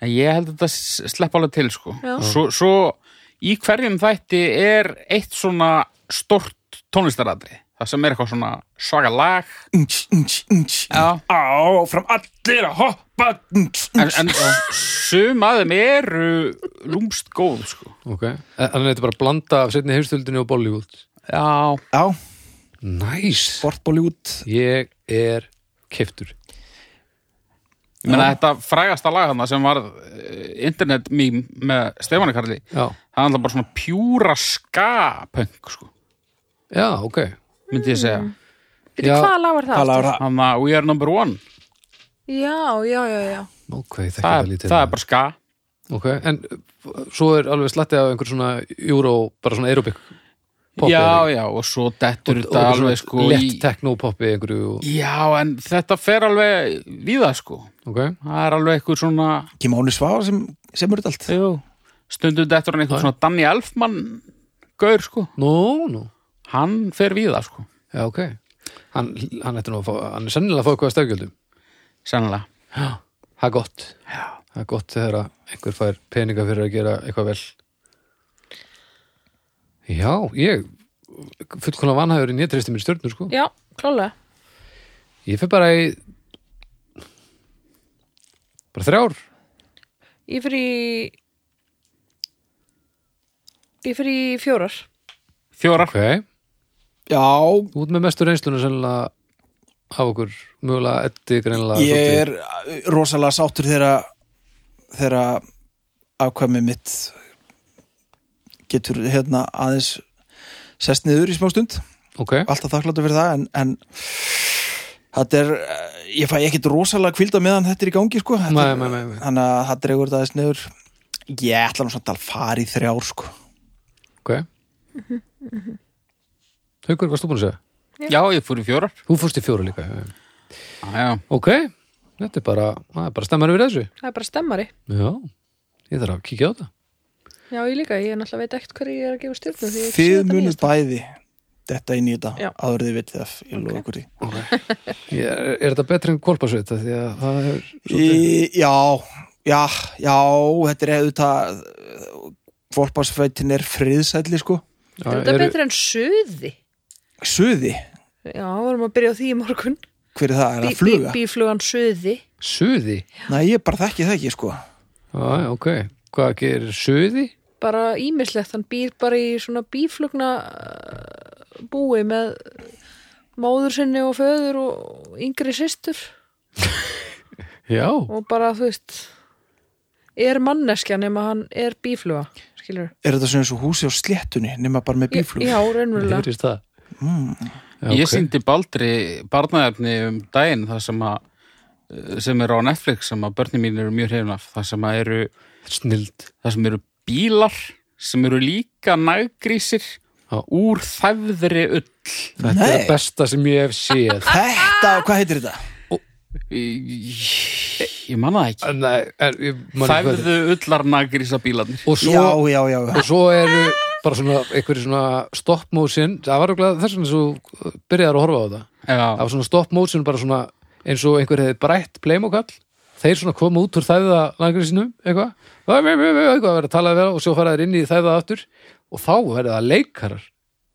en ég held að þetta s- slepp alveg til sko.
Já.
svo, svo í hverjum þætti er eitt svona stort tónlistaradri það sem er eitthvað svona svaga lag
Unch, unch, unch.
Já.
Áfram allir að hoppa unch,
en,
unch.
en sum að þeim eru lúmst góð sko.
Ok. En þannig að þetta er bara að blanda af setni heimstöldinni og Bollywood.
já,
Já,
Næs!
sportbóli út
Ég er keftur.
ég meina þetta frægasta lag hana sem var internet mím með Stefáni Karli
Já.
það er alltaf bara svona pjúra ska-punk sko,
Já, ok.
myndi ég
Mm.
segja
Býtu,
Já.
hvað lag var það?
Talaður það
hann að We Are Number One
Já, já, já, já.
Ok, það,
það, hérna. er, hérna. það er bara ska
Ok, en uh, svo er alveg slatti af einhver svona euro, bara svona aerobic poppi.
já, já, og svo dettur þetta alveg sko
Lett
í...
techno-poppi einhverju. og-
já, en þetta fer alveg víða sko,
Ok.
það er alveg eitthvað svona
Kimóni Svá sem, sem er þetta allt
jú, stundum dettur hann eitthvað svona Danny Elfman gaur sko,
Nú, nú.
hann fer víða sko,
Já, ok. Hann, hann, ætti nú að fá, hann er sennilega að fá eitthvað stafgjöldum.
sennilega
Það er gott. Já. Það er gott þegar að einhver fær peninga fyrir að gera eitthvað vel. Já, ég fullkona vanhæfur en ég treysti mér í stjörnur, sko.
Já, klálega.
Ég fer bara í bara þrjár.
Ég fyrir í... Ég fyrir í fjórar.
fjórar
Ok.
Já,
Út með mestu reynsluna sennilega af okkur mögulega eddi greinlega.
ég er uh, rosalega sáttur þegar þegar afkvæmið mitt getur hérna aðeins sest niður í smá stund
Ok.
alltaf þakkláttur fyrir það en, en þetta er eh, ég fæ ekkert rosalega kvilda meðan þetta er í gangi sko. Þetta
Nei,
er-
nei, nei, nei.
þannig að það dregur þetta aðeins niður ég ætla nú samt að fara í þrjár sko.
Ok. Haukur, hvað stú búin að segja?
já, ég fór í fjórar
Þú fórst í fjóra líka. já, já.
já, já.
Ok. Þetta er bara, það er bara stemmar yfir þessu.
Það er bara stemmari.
Já, ég þarf að kíkja á þetta
Já, ég líka. Ég náttúrulega veit ekkert hverju ég er að gefa stjórnum því ég hef ekki séð
þið
þetta
munið
nýjasta.
bæði þetta inn í
Já.
þetta áður þið vitið það ég lofa ykkur því
ég, Er er þetta betri en kolpasveita? Því að það er svolítið
Í, já, já, já, þetta er auðvitað Volparsfætin er friðsætli sko
Já,
Er Þetta er
eru-
betur en suði.
Suði,
Já, við erum að byrja á því í morgun.
hver er það? Er
Bí-
það
bí-
fluga?
Bíflugan suði.
Suði?
Nei, ég bara þekki það ekki sko
Já, já, ok, hvað gerir suði?
bara ímislegt, hann býr bara í svona bíflugna uh, búi með móður sinni og föður og yngri systur
Já,
og bara þú veist er manneskja nema hann er bífluga skilur
Er þetta svona eins og húsi á sléttunni nema bara með bíflug?
Já,
það
raunverulega
heyrist það Hmm. Já,
Ég
ok.
síndi Baldri barnaefni um daginn það sem að eh, sem eru á Netflix sem að börnin mín eru mjög hrifin af það sem að eru,
Snilld
það sem eru bílar sem eru líka nægrísir
Já.
úr þæfðri ull
Þetta er
Nei.
það besta sem ég hef
[LAUGHS]
séð
Þetta, hvað heitir þetta?
ég, ég manna það ekki
En það er, ég man ekki hvað þetta
þæfðu ullar nægrísa bílarnir
er. og
Já,
svo,
já, já,
og svo eru bara svona einhverju svona stop motion Það var okkur þess vegna svo byrjaðar að horfa á það Það
Já,
var svona stop motion bara svona eins og einhver hefði brætt pleimokall þeir svona koma út úr þæða langrisinum eitthvað, eitthvað að vera að tala við þá og svo fara þeir inn í þæða aftur og þá verða það leikarar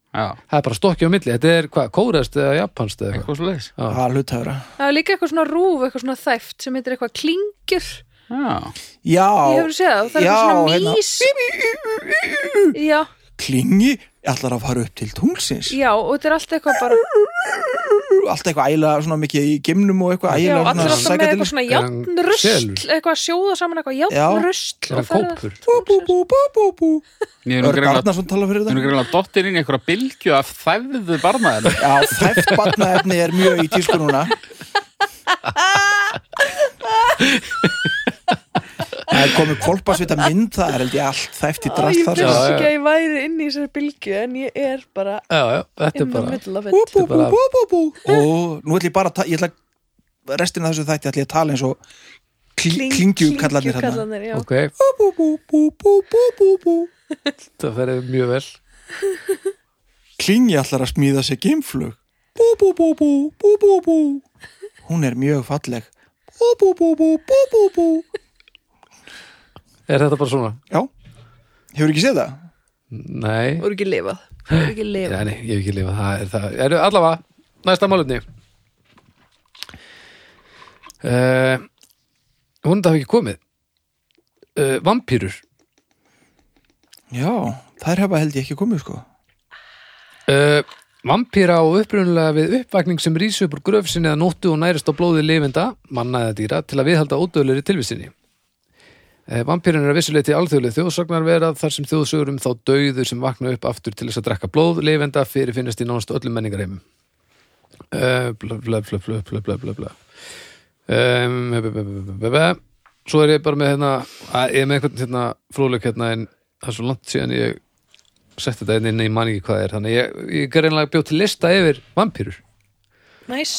já,
það er bara stokki á milli, þetta er hvað, kóreðst eða japanst eða eitthvað
eitthvað svo leis
já Það hluta vera
Það er líka eitthvað svona rúf, eitthvað svona þæft sem heitir eitthvað klingjur
Já,
Já,
Ég hefur séð það, það er
já,
eitthvað
hérna.
svona mís Já,
klingi Ætlar að fara upp til tunglsins
já, og þetta er allt eitthvað bara
Allt eitthvað ægilega svona mikið í gimnum og eitthvað
Já, allir
ægilega svona
alltaf með
sækadil
eitthvað svona
Eða
játnrusl
selur.
eitthvað að sjóða saman eitthvað játnrusl
er hann kópur
Bú, bú, bú, bú, bú, bú
ég er nú
Örg
greinlega
Arnarsson tala
ég
fyrir
er nú
þetta
greinlega dottir inn í einhverja bylgju af þæfðu barnaefni
Já, þæft barnaefni er mjög í tísku
[LAUGHS]
núna Það er komið kolpasvita mynd það er held ég allt þæft í drast
Ég
þar sko.
Já,
finnst
já.
ekki að ég væri inn í þessari bylgju en ég er bara
já, já, þetta er
inn á
bara
middle of
Bú,
it
bú,
Þetta
bú,
er bara-
bú, bú, bú. og nú ætlum ég bara að ta- ég ætla að restina af þessu þætti ætla ég að tala eins og kling, klingjukallarnir hérna
Klingjukallarnir, já.
ok,
bú, bú, bú, bú, bú, bú, bú.
það ferði mjög vel
Klingi allar að smíða sér geimflug bú, bú, bú, bú, bú, bú, bú hún er mjög falleg bú, bú, bú, bú, bú, bú, bú
er þetta bara svona?
já, hefur ekki séð það?
nei,
voru ekki lifað voru ekki lifað
Já, nei, ég hef ekki lifað það er það. Eru allavega, næsta málutni. Uh, hún þetta hafi ekki komið. Uh, vampýrur.
já, þær hafa held ég ekki komið sko
Uh, vampýra á upprunulega við uppvakning sem rís upp úr gröfsinni eða nóttu og nærist á blóði lifenda, manna eða dýra, til að viðhalda ódöðleiri tilvistinni. Uh, vampýrun er að vissuleiti alþjóðlega þjóðsagnar vera þar sem þjóðsögur um þá dauðu sem vakna upp aftur til þess að drekka blóð lifenda fyrir finnast í nánast öllum menningarheimum. Uh, bla bla bla bla bla bla bla bla um, be, be, be, be, be, be. Svo er ég bara með hérna að ég er með einhvern hérna fróðleik hérna en það er svo langt síðan ég setti þetta hérna inn ég man ekki hvað það er þannig ég, ég er einlega bjóð til lista yfir vampýrur
næs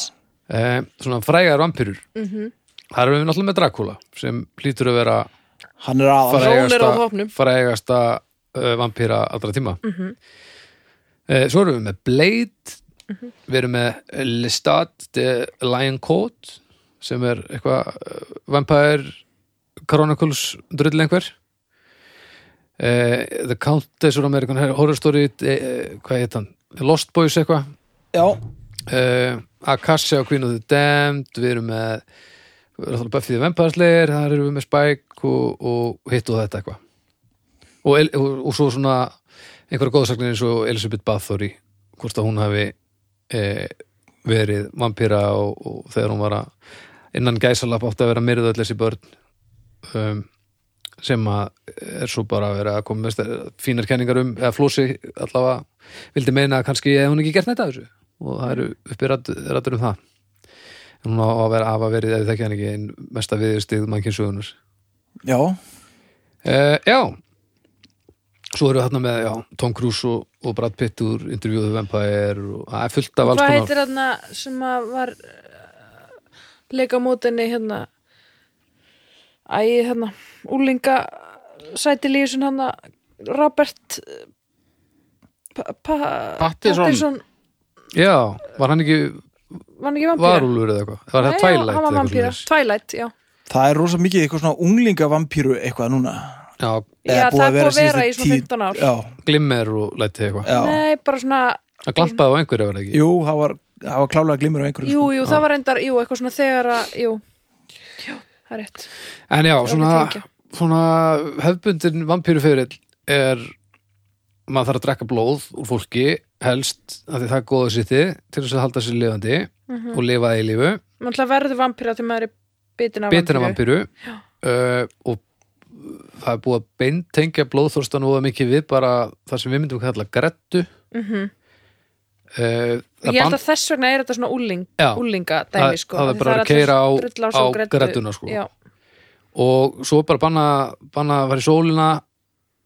um, svona frægar vampýrur mm það erum við náttúrulega með Dracula sem hlýtur að vera
hann er aðal
Fara- Rónar á
frægasta,
toppnum.
frægasta uh, vampýra allra tíma mm Svo erum við með Blade við erum með Lestat de Lion Coat sem er eitthvað uh, Vampire Chronicles drull einhver uh, The Countess er með eitthvað horror story uh, hvað heit hann? Lost Boys eitthvað
já,
uh, Akasha og Queen of the Damned við erum með við erum alltaf Buffy the Vampire Slayer, þar erum við með Spike og, og hitt og þetta eitthvað og, El- og, og svo svona einhverja góðsagnir eins og Elizabeth Bathory hvort að hún hafi e, verið vampíra og, og þegar hún var að innan gæsalap átti að vera myrðu öll þessi börn um, sem að er svo bara að vera að koma með ster- fínar kenningar um eða flósi allavega vildi meina að kannski hefði hún ekki gert neitt af þessu og það eru uppi rættur um það en hún á að vera af að verið eða þekkja hann ekki einn mesta viðstig mannkynsugunar
já,
uh, Já Svo eru þarna með já, Tom Cruise og, og Brad Pitt úr intervjúðu Vampire og það er fullt af alls
hvað
konar
heitir þarna sem að var uh, leika á mótinni hérna æ, hérna úlinga sæti lísun hérna Robert uh, pa, pa,
Pattinson.
Já, var hann ekki
var hann ekki vampíra?
varúlur eða eitthvað Var það
Nei,
Twilight?
já, hann var
eitthvað
vampíra,
svoleiðis?
Twilight, já
það er rosa mikið eitthvað svona unglinga vampíru eitthvað núna
Já,
Já, það er búið að vera í
síðustu
svona 15 ár
tíu- já,
glimmer og læti eitthvað
já,
Nei, bara svona,
Það glampaði á einhverju eða ekki
jú, það var, það var klálega glimur á einhverju
jú,
sko.
jú, það var endar, jú, eitthvað svona þegar að, jú Jú, það er rétt
En já, svona,
tengja.
svona hefbundin vampýruferill er maður þarf að drekka blóð úr fólki helst af því það er góða sitti til þess að halda sér lifandi
Mhm.
og lifa í lífu,
Man ætla að verður vampíra til maður er bitin af
betina
vampíru.
vampýru uh, og það er búið að beintengja blóðþorstan og mikið við bara það sem við myndum kalla grettu uh, það
Mhm. Ég held
bann-
að þess vegna er þetta svona úling,
Já.
úlinga
Það-
dæmi, sko
það er
Því
bara að
allir
keyra á-
drullás og
á
greddu.
gredduna, sko.
Já,
og svo bara banna, banna að fara í sólina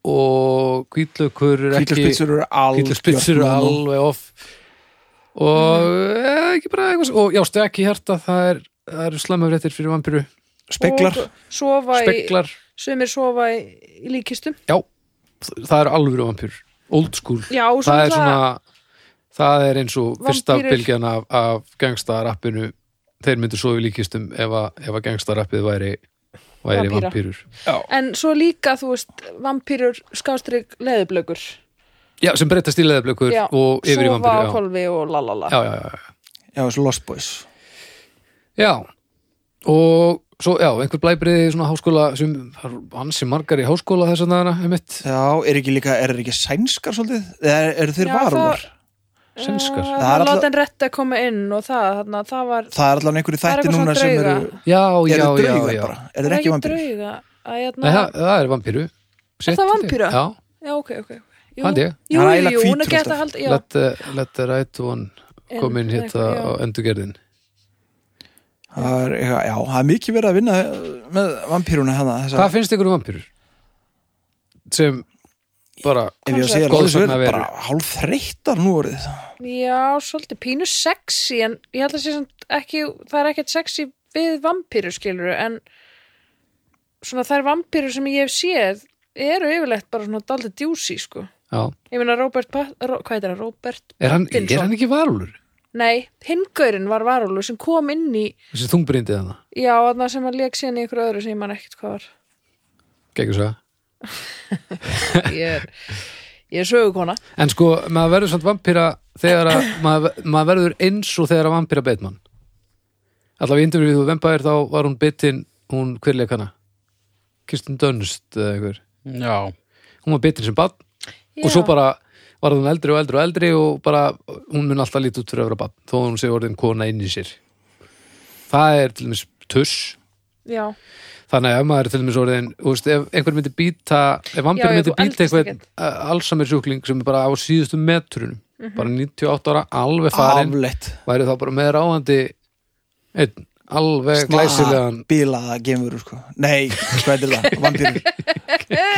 og kvítlaukur er ekki
Hvítlurspitsur eru algjört
Peter Spitzer er
no-no.
alveg off og mm. ekki bara eitthvað og já, stekki hjarta, það er, það er slæmafréttir fyrir vampíru,
Speglar
og Sofa í,
speklar
sumir sofa í, í líkistum
já, það eru alvöru vampýr old school,
Já,
það
svona
er svona það er eins og fyrsta
Vampírur.
bylgjan af, af gangstarappinu þeir myndu svo við líkistum ef að, ef að gangstarappið væri, væri
Vampíra.
vampýrur
En svo líka, þú veist, vampírur skástrík leðublökur
já, sem breytast í leðablökur
Já,
og yfir í
sofa á
vampýru já.
kolvi og lalala
Já, já, já, já.
já, þessu Lost Boys
Já, og svo, já, einhver blæbriði í svona háskóla sem það eru ansi margar í háskóla þess að þaðna, einmitt,
já, er ekki líka, er ekki sænskar svolítið, eða eru þeir
Já, það-
varúlar það...
sennskar.
Það
Það
er
er alla-
alltaf en rétt að koma inn og það, þarna, það var
er allan einhverju
Það er
þætti
eitthvað
núna
svona
sem
drauga.
eru
Já, já,
eru
já,
draugar
já.
bara, eru þeir ekki vampýr
drauga að,
Nei,
jæna,
það, það er vampíru. Sitt,
það vampíra?
Já,
já, ok, ok ok. Jú,
Held ég.
jú, jú,
Það er eiginlega
jú, hún
hvítur
er gett
alltaf.
að halda já,
let the, let the right one
En-
kom inn
en
hitta
eitthvað, já.
á endurgerðin.
það er, eitthvað- já, það er mikið verið að vinna með vampýruna hana þessa,
Hvað finnst ykkur um vampírur? Sem bara
ef ég á að segja
Góðs
alveg svo er
vegna veru.
bara hálf þreyttar nú orðið
Já, svolítið pínu sexy en ég held að sé samt ekki, það er ekkert sexy við vampýru skilur en svona þær vampýru sem ég hef séð eru yfirleitt bara svona daldið djúsi sko.
já.
Ég meina Robert, Pat, Ro, hvað heitir það, Robert?
Er, hann,
Pattinson.
er hann ekki varulur?
Nei, hingaurinn var varúlu sem kom inn í,
Þessi þungbrindið hann
já, þarna sem að leik síðan í ykkur öðru sem ég man ekkert hvað var.
[LAUGHS] Gekkur svo
Ég er, ég er sögukona.
En sko, maður verður samt vampíra þegar að, maður, maður verður eins og þegar að vampíra beit mann Allavega í intervjúið þú vampæðir þá var hún bitin hún hverleik hana Kirsten Dunst eða einhver
já,
Hún var bitin sem bann
Já.
og svo bara var hún eldri og eldri og eldri og bara hún mun alltaf lítið út fyrir öfra bann þó hún sé orðin kona inn í sér Það er til dæmis tuss
Já,
Þannig að ef maður er til dæmis orðin þú veist, ef einhver myndi býta ef vampir
Já, ef
myndi
þú
býta
eldist
einhvern
ekkert.
uh, Alzheimer sjúkling sem er bara á síðustu metrunum
Mhm.
bara 98 ára, alveg farin
afleitt,
væri þá bara með ráðandi einn, alveg glæsilegan
bílaða gemur sko. nei, hvað er [LAUGHS] það, vampýrur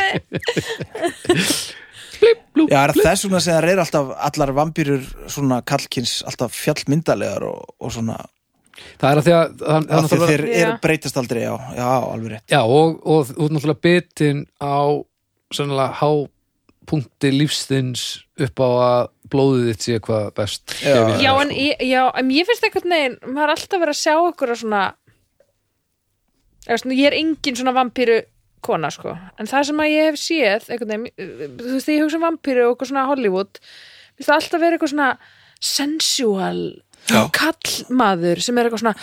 blúp,
já, er það þess vegna sem það er alltaf allar vampýrur svona kallkins alltaf fjallmyndalegar og, og svona
það er að því að það, það er
af því að
náttúrulega
þeir eru
Já.
breytast aldrei já, já, alveg rétt
já, og, og þú ert náttúrulega bitin á sannlega hápunkti lífstins upp á að blóðið þitt sé hvað best
Já.
gefið.
já, en, ég- já, en ég finnst einhvern veginn maður er alltaf verið að sjá okkur að svona, eða svona ég er engin svona vampíru kona sko en það sem að ég hef séð einhvern veginn, þú veist þegar ég hugsa um vampíru og eitthvað svona Hollywood finnst það alltaf verið eitthvað svona sensual
Já.
kallmaður sem er eitthvað svona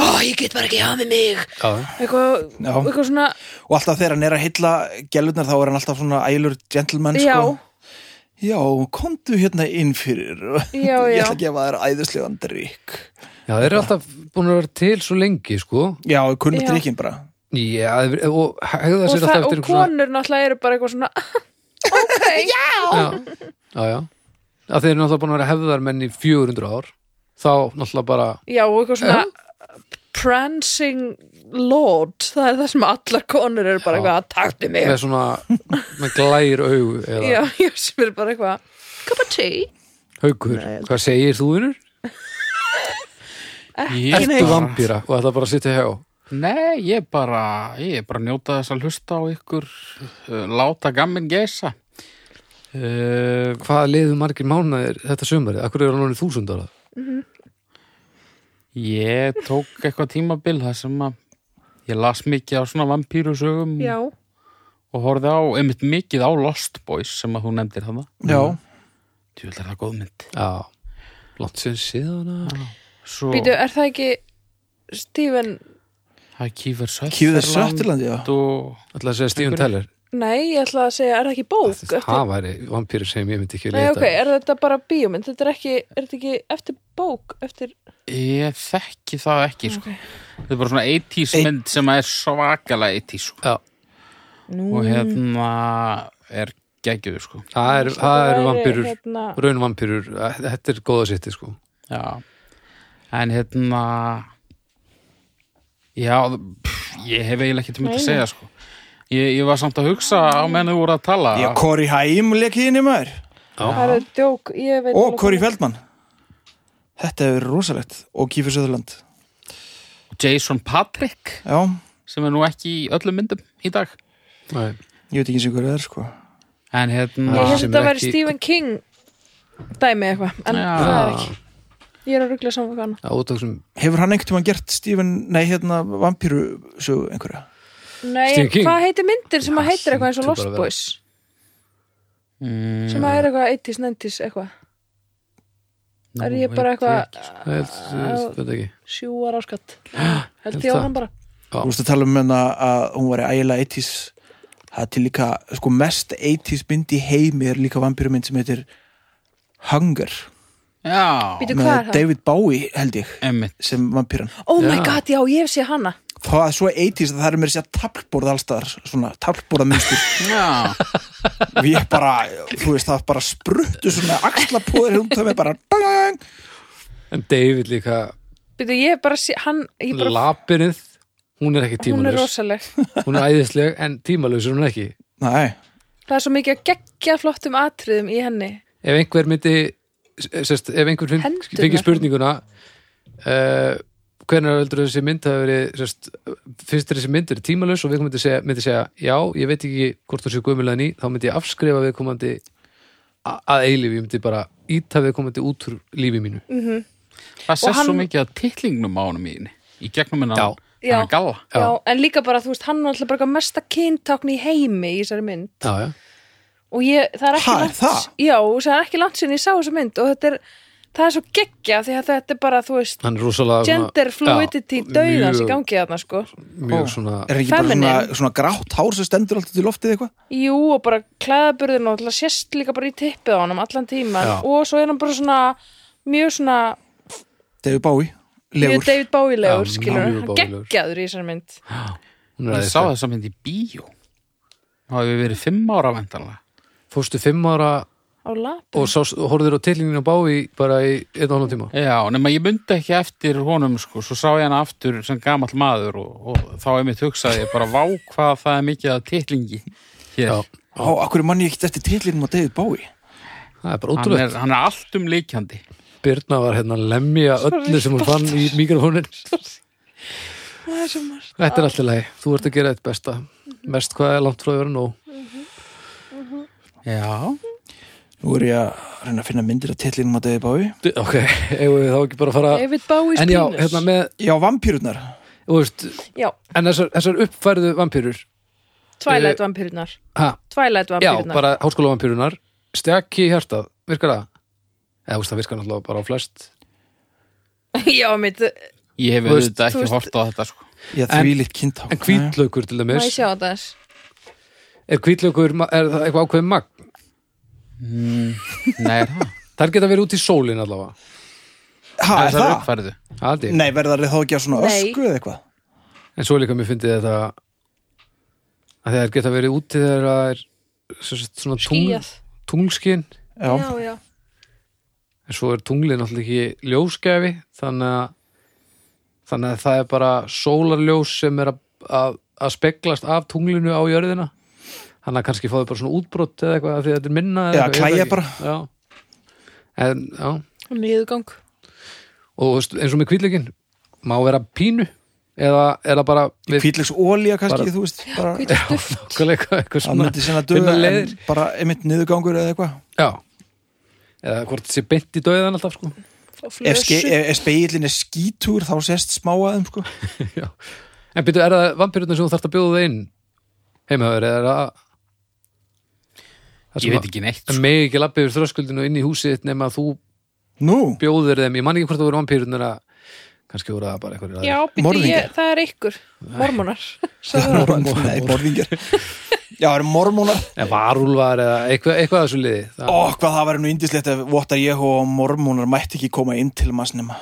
ó, ég get bara ekki hafa með mig
Já.
eitthvað,
Já.
eitthvað svona
og alltaf þegar hann er að hylla gelurnar þá er hann alltaf svona ælur gentleman
já,
sko. já, komdu hérna inn fyrir [LAUGHS]
Já,
ég
já.
ætla að gefa þér æðislegan drikk
já, þeir eru alltaf búin að vera til svo lengi sko
já, ég kunni
Já.
drikkin bara
Já, þeir- eh, og hegða
og,
sér
það,
alltaf
og
eftir
konur náttúrulega eru bara eitthvað svona ok,
svona Já, já, já að þeir eru náttúrulega búin að vera hefðar menn í 400 ár þá náttúrulega bara
Já, og eitthvað svona prancing lord það er það sem allar konur eru bara
Já.
eitthvað að takti mig
með svona, með glær augu eða
Já, já, sem eru bara eitthvað cup of tea
haukur, hvað segir þú vinnur?
ég
Ertu vampíra og þetta bara að sitja hjá
Nei, ég bara, ég bara njóta þess að hlusta á ykkur, uh, láta gamminn geisa. Uh,
Hvað liðu margir mánuðir þetta sömari? Akkur eru hann orðið þúsund ára?
ég tók eitthvað tímabil þar sem að ég las mikið á svona vampýrusögum
"Mm." Já,
og horfði á, einmitt mikið á Lost Boys sem að þú nefndir þarna.
já,
Þú vil er það góð mynd.
Já, langt sér síðan eh. að
Svo,
býtu, er það ekki Stephen,
það er Kífer Sötterland.
kýðu þér söttilandi já.
Og,
Ætla að segja Stífun Teller
nei, ég ætla að segja er það ekki bók? eftir-
Það væri vampýri sem ég myndi ekki
Nei, ok,
leita
er þetta bara bíómynd? Þetta er ekki, er þetta ekki eftir bók? Eftir,
ég þekki það ekki, sko.
Ok.
Þetta er bara svona 80s mynd sem að er svakalega 80s, sko.
Já,
Og hérna er geggjur, sko.
það eru- það eru
væri,
vampýrur
hérna-
raun vampýrur, þetta er góða sitti sko
Já, en hérna Já, pff, ég hef eiginlega ekki tíma til að segja sko ég, ég var samt að hugsa á menn þau voru að tala
já, Corey Haim lekið inn í maður
Það eru djók, ég veit
og
alveg
Corey
hvað-
Feldman þetta hefur verið rosalegt og kýfur söttiland
Jason Patrick
já,
sem er nú ekki í öllum myndum í dag
Nei.
ég veit ekki eins og hverju það er sko
En hérna
Ég
Ah.
held
Sem
að það
er
væri
ekki-
Stephen King dæmi eitthvað, en
Já.
það er ekki Ég er að ruggla saman hvað hann
Já, út af þessum
hefur hann einhvern tímann gert Stephen, nei hérna vampíru sögu einhverja
Nei,
Stephen King?
hvað heitir myndir sem að heitir eitthvað eins og
hlýtur
Lost
bara að vera.
Boys
mm,
sem að er eitthvað 80s, 90s eitthvað er ég bara eitthvað
Ég held, ég
Á-
veit ekki
sjúar áskatt
held
held ég á
það.
hann bara
Þú veist að tala um hennar að hún var ægilega 80s það er til líka, sko mest 80s mynd í heimi er líka vampýrumynd sem heitir Hunger
Já,
Býtu
með
hvað er það?
David Bowie held ég
emmitt
sem vampýran
Oh my
Já.
god, já, ég hef séð hana
það er svo 80s að það er mér sér tablborð allstaðar svona tablborðamynstur
Já,
og ég bara, þú veist það bara spruttu svona axlapóðir um það með bara bang,
En David líka,
Býtu, ég hef bara séð, hann ég bara,
lapirið Hún er ekki
hún er
tímalaus
rosaleg
Hún er æðisleg, en tímalaus er hún ekki
nei
það er svo mikið að gegja flottum atriðum í henni
ef einhver myndi sest, ef einhver finn,
Hendurnar.
fengi spurninguna uh, hvernig heldur þessi mynd hafi verið sest, finnst þér þessi mynd er tímalus og viðkomandi segja, myndi segja já, ég veit ekki hvort þú séu guðmjölega ný þá myndi ég afskrifa viðkomandi a- að eilífi, ég myndi bara íta viðkomandi út úr lífi mínu
Mm.
það sést svo
hann-
mikið að titlingnum á honum í henni í gegnum hennan
Já.
hennan
Já.
galla
já. en líka bara, þú veist, hann er alltaf bara eitthvað mesta kyntákn í heimi í þessari mynd
já, já,
og ég, það er ekki
Ha, er
langt
það?
já, það er ekki langt sinni ég sá þessa mynd og þetta er, það er svo geggja því að þetta er bara, þú veist
hann er rosalega svona-
gender fluidity
Já,
dauðans í
mjög-
gangi þarna sko
mjög svona
Er ekki bara svona,
Feminine.
svona grátt hár sem stendur alltaf til loftið eitthvað?
jú og bara klæðaburðin og alltaf sérst líka bara í tippið á honum allan tíman
Já.
og svo er hann bara svona mjög svona,
David Bowie, legur.
mjög David Bowie-legur
Já,
skilur,
mjög
hann
Bowie-legur.
geggjaður í þessari mynd
hún er
ég sá
æðisleg.
þess að myndi í bíó þá hefur verið fimm ára vendanlega
fórstu fimm ára
á lap
og, sást- og horfður á tilningin á bái bara í einn og annan tíma
Já, nema ég myndi ekki eftir honum sko, svo sá ég hana aftur sem gamall maður og, og þá einmitt hugsaði ég bara vá hvað það er mikið að titlingi hér.
Já.
Á, akkur mann ég ekkert eftir titlinum á David Bowie?
það er bara
Hann
ótrúlegt
er, hann er allt um líkjandi
Birna var hérna að lemja öllu sem hún fann í mikrofónin
það er svo margt
Þetta er alltaf leið, þú ert að gera eitt besta mest hvað er langt frá að vera nóg
Já,
Nú er ég að reyna að finna myndir af titlinum á David Bowie.
D- Ok, eigum við þá ekki bara að fara
David Bowie
En já,
spínus
hérna með,
Já, vampýrurnar.
þú veist
já,
en þessar, þessar uppfærðu vampýrur
Twilight vampirurnar
ha,
Twilight
Eh, Já,
vampirurnar
bara háskóla vampýrunar stjakki í hjartað, virkar það? Eða, þú veist, það virkar náttúrulega bara á flest
[LAUGHS] já, mitt,
ég hef
Þú veist-
auðvitað
þú
ekki
veist-
hort á þetta sko.
Já,
En-
því litt kynntá.
En hvítlaukur til
má ég
dæmis
sjá þetta eins
Er hvítlaukur, ma- er það eitthvað ákveðin magn?
Nei, er það?
Þar geta verið út í sólin allavega
Ha, er
Þessar
það?
uppfærðu
Haldi.
Nei, verðar þið þá ekki að svona
Nei.
ösku eða eitthvað?
En svo er líka mér fyndið þetta að þeir geta verið úti þegar það er sem sagt, svona tungl,
skýjað
tunglskin
Já.
já, já,
en svo er tunglið náttúrulega ekki ljósgefi þannig að, þannig að það er bara sólarljós sem er að, að, að speglast af tunglinu á jörðina þannig að kannski fáðu bara svona útbrott eða eitthvað af því að þetta er minna eða
Já,
eitthvað, ég veit
klæja bara.
ekki. Já. En, já.
niðurgang
og þú veist, eins og með kvíðleikin má vera pínu eða er það bara við
Hvítlegs ólíja kannski,
Bara-
þú veist. Bara,
Hvítur duft.
Nákvæmlega eitthvað, eitthvað
það
svona
myndi sinna
finna
döða,
leiðir.
en bara einmitt niðurgangur eða eitthvað.
Já Eða hvort sé beint í dauðan alltaf sko
og
Ef, ske-
flössu.
ef, ef speilin er skítúr, þá sést smáaðum, sko.
Já En byrju, er það vampirutna sem þú þarft að bjóða það inn heimhafur eða er það það
Ég veit ekki neitt
En
sko.
megi ekki lappi yfir þröskuldinu inn í húsið þitt nema að þú
Nú,
bjóður þeim, ég man ekki hvort það voru vampirutnir að kannski voru það bara eitthvað
já, býttu,
Morðingjar.
ég, það er ykkur mormonar Sagði það.
mormón, nei, morðingar. Já, það eru mormónar.
eða varúlvar eða eitthvað, eitthvað að þessu liði það,
Ó, hvað það væri nú indislegt ef Votar Jeho og mormónar mætti ekki koma inn til maður nema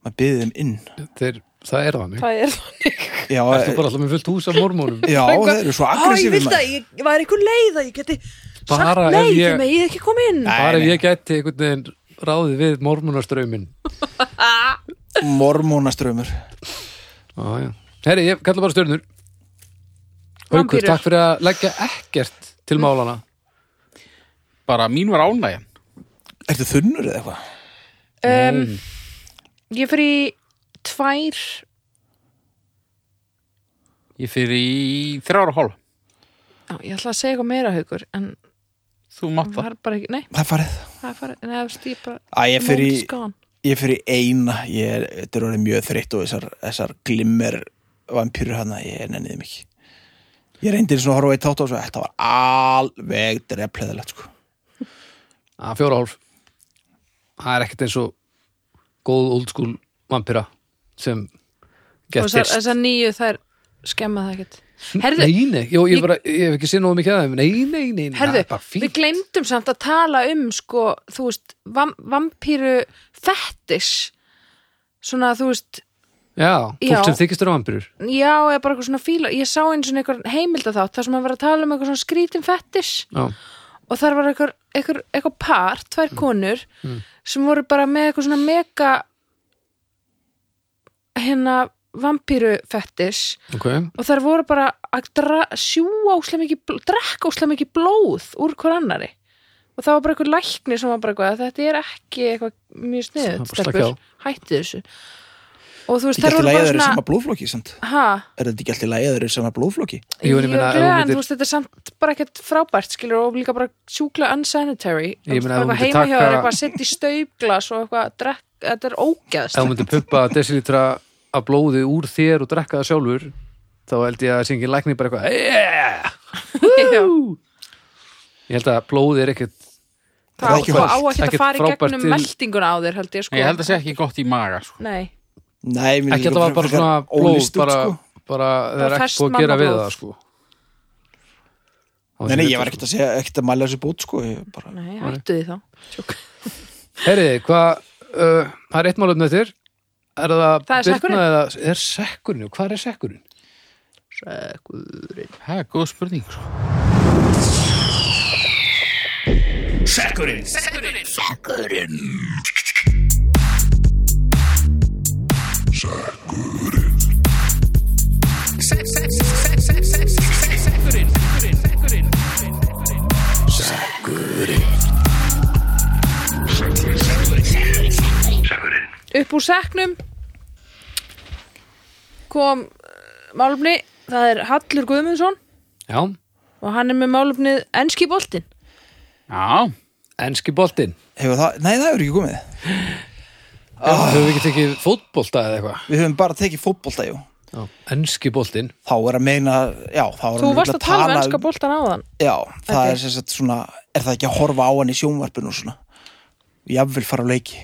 maður byggði þeim inn.
þeir, það er þannig
það er þannig
Já,
Það er bara alltaf með fullt hús af mormónum
já
Eitthvað-
þeir eru svo
Á, ég
aggressífið
vildi að ég ég væri ykkur leið að ég geti sagt
Bara ef
nei,
ég-
ég... ég ekki koma inn
Bara ef ég gæti einhvern veginn ráðið við mormónastraumin
Mormónaströmmur.
Já, já. Herri, ég kalla bara stjörnur Haukur,
Vampírur. Mm.
takk fyrir að leggja ekkert til málana
Bara mín var ánægjan
Ertu þunnur eða eitthvað?
um, ég fyrir í tvær
Ég fyrir í þrjára hól
já, ég ætla að segja eitthvað meira haugur en
Þú mátt
það
það
er bara ekki, nei,
Það er farið.
það er farið nei, það veist, ég bara,
Æ, ég fyrir í...
Moment's gone.
ég fyrir eina ég er, þetta er orðið mjög þreytt og þessar, þessar glimmer vampýrur hana ég nenniði mikið ég reyndi svona að horfa á eitt þátt og svo þetta var alveg drefleðilegt sko.
að fjóra og hálf Það er ekkert eins og góð old school vampira sem
og
gett
þessar-
fyrst
þessar nýju þær skemma það ekkert herðu,
Nei, nei, Jó, ég, bara, ég hef ekki séð nógu mikið að þeim Nei, nei, nei, nei það
Herðu,
er bara
við
fínt
glemdum samt að tala um sko, þú veist, vam, vampíru fettis svona, þú veist,
Já,
Já.
fólk sem þykist eru vampirur
já, eða bara eitthvað svona fíla ég sá eins og einhver heimild að þátt þar sem að vera að tala um eitthvað svona skrítin fettis
Já,
og þar var eitthvað, eitthvað, eitthvað par, tvær konur sem voru bara með eitthvað svona mega hérna vampíru fettis
ok,
og þær voru bara að dra- sjúga óslega mikið, bl- drekka óslega mikið blóð úr hver annari og það var bara eitthvað lækni sem var bara eitthvað þetta er ekki eitthvað
Það
mjög sniðut
var bara slakið á.
stelpur, hættu þessu og þú veist,
Þetta
þær
er
voru bara
ekki lægður í
svona
sama blóðflokki samt.
ha,
Er þetta ekki alltaf lægður í sama blóðflokki?
Jú, en ég meina, ef þú
gleðan,
myndir-
þú veist, þetta er samt bara ekkert frábært, skilur, og líka bara sjúkla unsanitary, Þú
Ég
veist,
meina, ef þú
bara
myndir
heima hjá
taka-
þér eitthvað að setja í staupglas og eitthvað, að drekka, þetta er ógæðst
ef þú myndir pumpa desilítra af blóði úr þér og drekka það sjálfur þá held ég að það sé engin læknir bara eitthvað yeah! ég held að blóði er ekkert
það
Það er
á
ekki
sko, á
hollt.
ekkert
Ekkert
að fara í
frábært
gegnum
til-
meldinguna á þér, held ég, sko
Ég held að sé ekki gott í maga, sko.
Nei,
Nei, mér
ekki að það var
finnst líka
bara
frekar
svona blóð
ólist út,
bara,
sko.
bara það er ekki
ferskt
búið að gera við
mannablóð.
það sko.
Nei, nei, ég var ekkert að segja, ekkert að mæla þessu bút, sko. Ég bara,
nei, hættu því þá
Herriði, hvað, uh, það er eitt málum eftir Er það,
Það er
Birna
sekkurinn.
Eða, er sekkurinn, hvað er sekkurinn?
Það er góð spurning, sko.
upp úr seknum kom eh, málefni, það er Hallur Guðmundsson
Já,
og hann er með málefnið Enski boltinn
Já,
enski boltinn
hefur það, nei, það hefur ekki komið.
Höfum við ekki tekið fótbolta eða eitthvað?
Við höfum bara tekið fótbolta, jú.
Enski boltinn
Þá er að meina, já, þá er
Þú
hann
varst
örugglega
að tala um
tala
enska boltan áðan
Já, það
Þetta
er
er-
sem sagt svona, er það ekki að horfa á hann í sjónvarpinu og svona? Jafnvel fara á leiki.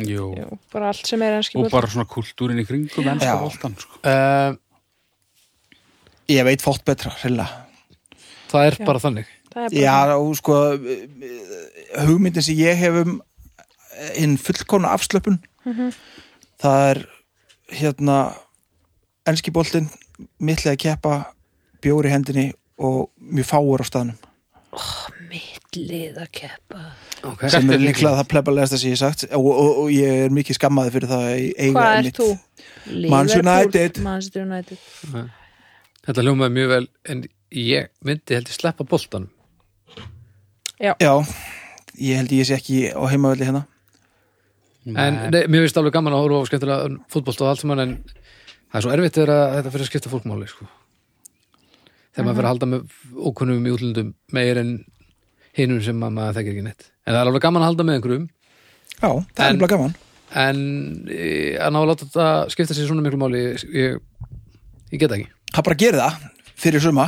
jú.
Jú, bara allt sem er enski
Og
boltinn
bara svona kultúrin í kringum ennska
Já.
voltan, sko.
uh,
Ég veit fótt betra, hreinlega.
Það er bara þannig
Það er bara
Já, og sko, eh, eh, hugmyndin sem ég hef um eh, hinn fullkona afslöpun,
Mhm.
það er hérna enski boltinn, mittlið að keppa, bjór í hendinni og mjög fáur á staðnum.
Mittlið að keppa.
okay.
Sem
Hvert er
er líklega það plebalegasta sem ég hef sagt og, og, og ég er mikið skammaði fyrir það að ég eiga
Hvað ert
einmitt-
þú?
Manchester United.
Manchester United
Þetta hljómaði mjög vel En ég myndi held ég sleppa boltanum
Já, ég held ég sé ekki á heimavelli hérna.
En nei, mér finnst alveg gaman að horfa á skemmtilega fótbolta og allt saman en það er svo erfitt þegar að þetta fyrir að skipta fólkmáli sko. þegar maður fyrir að halda með ókunnum í útlundum meir en hinum sem að maður þekkir ekki neitt en það er alveg gaman að halda með einhverjum
Já, það
En-
er nefnilega gaman.
en eh, að ná að láta þetta skipta sér svona miklu máli ég, ég, ég get það ekki
Það bara gerir það fyrir suma.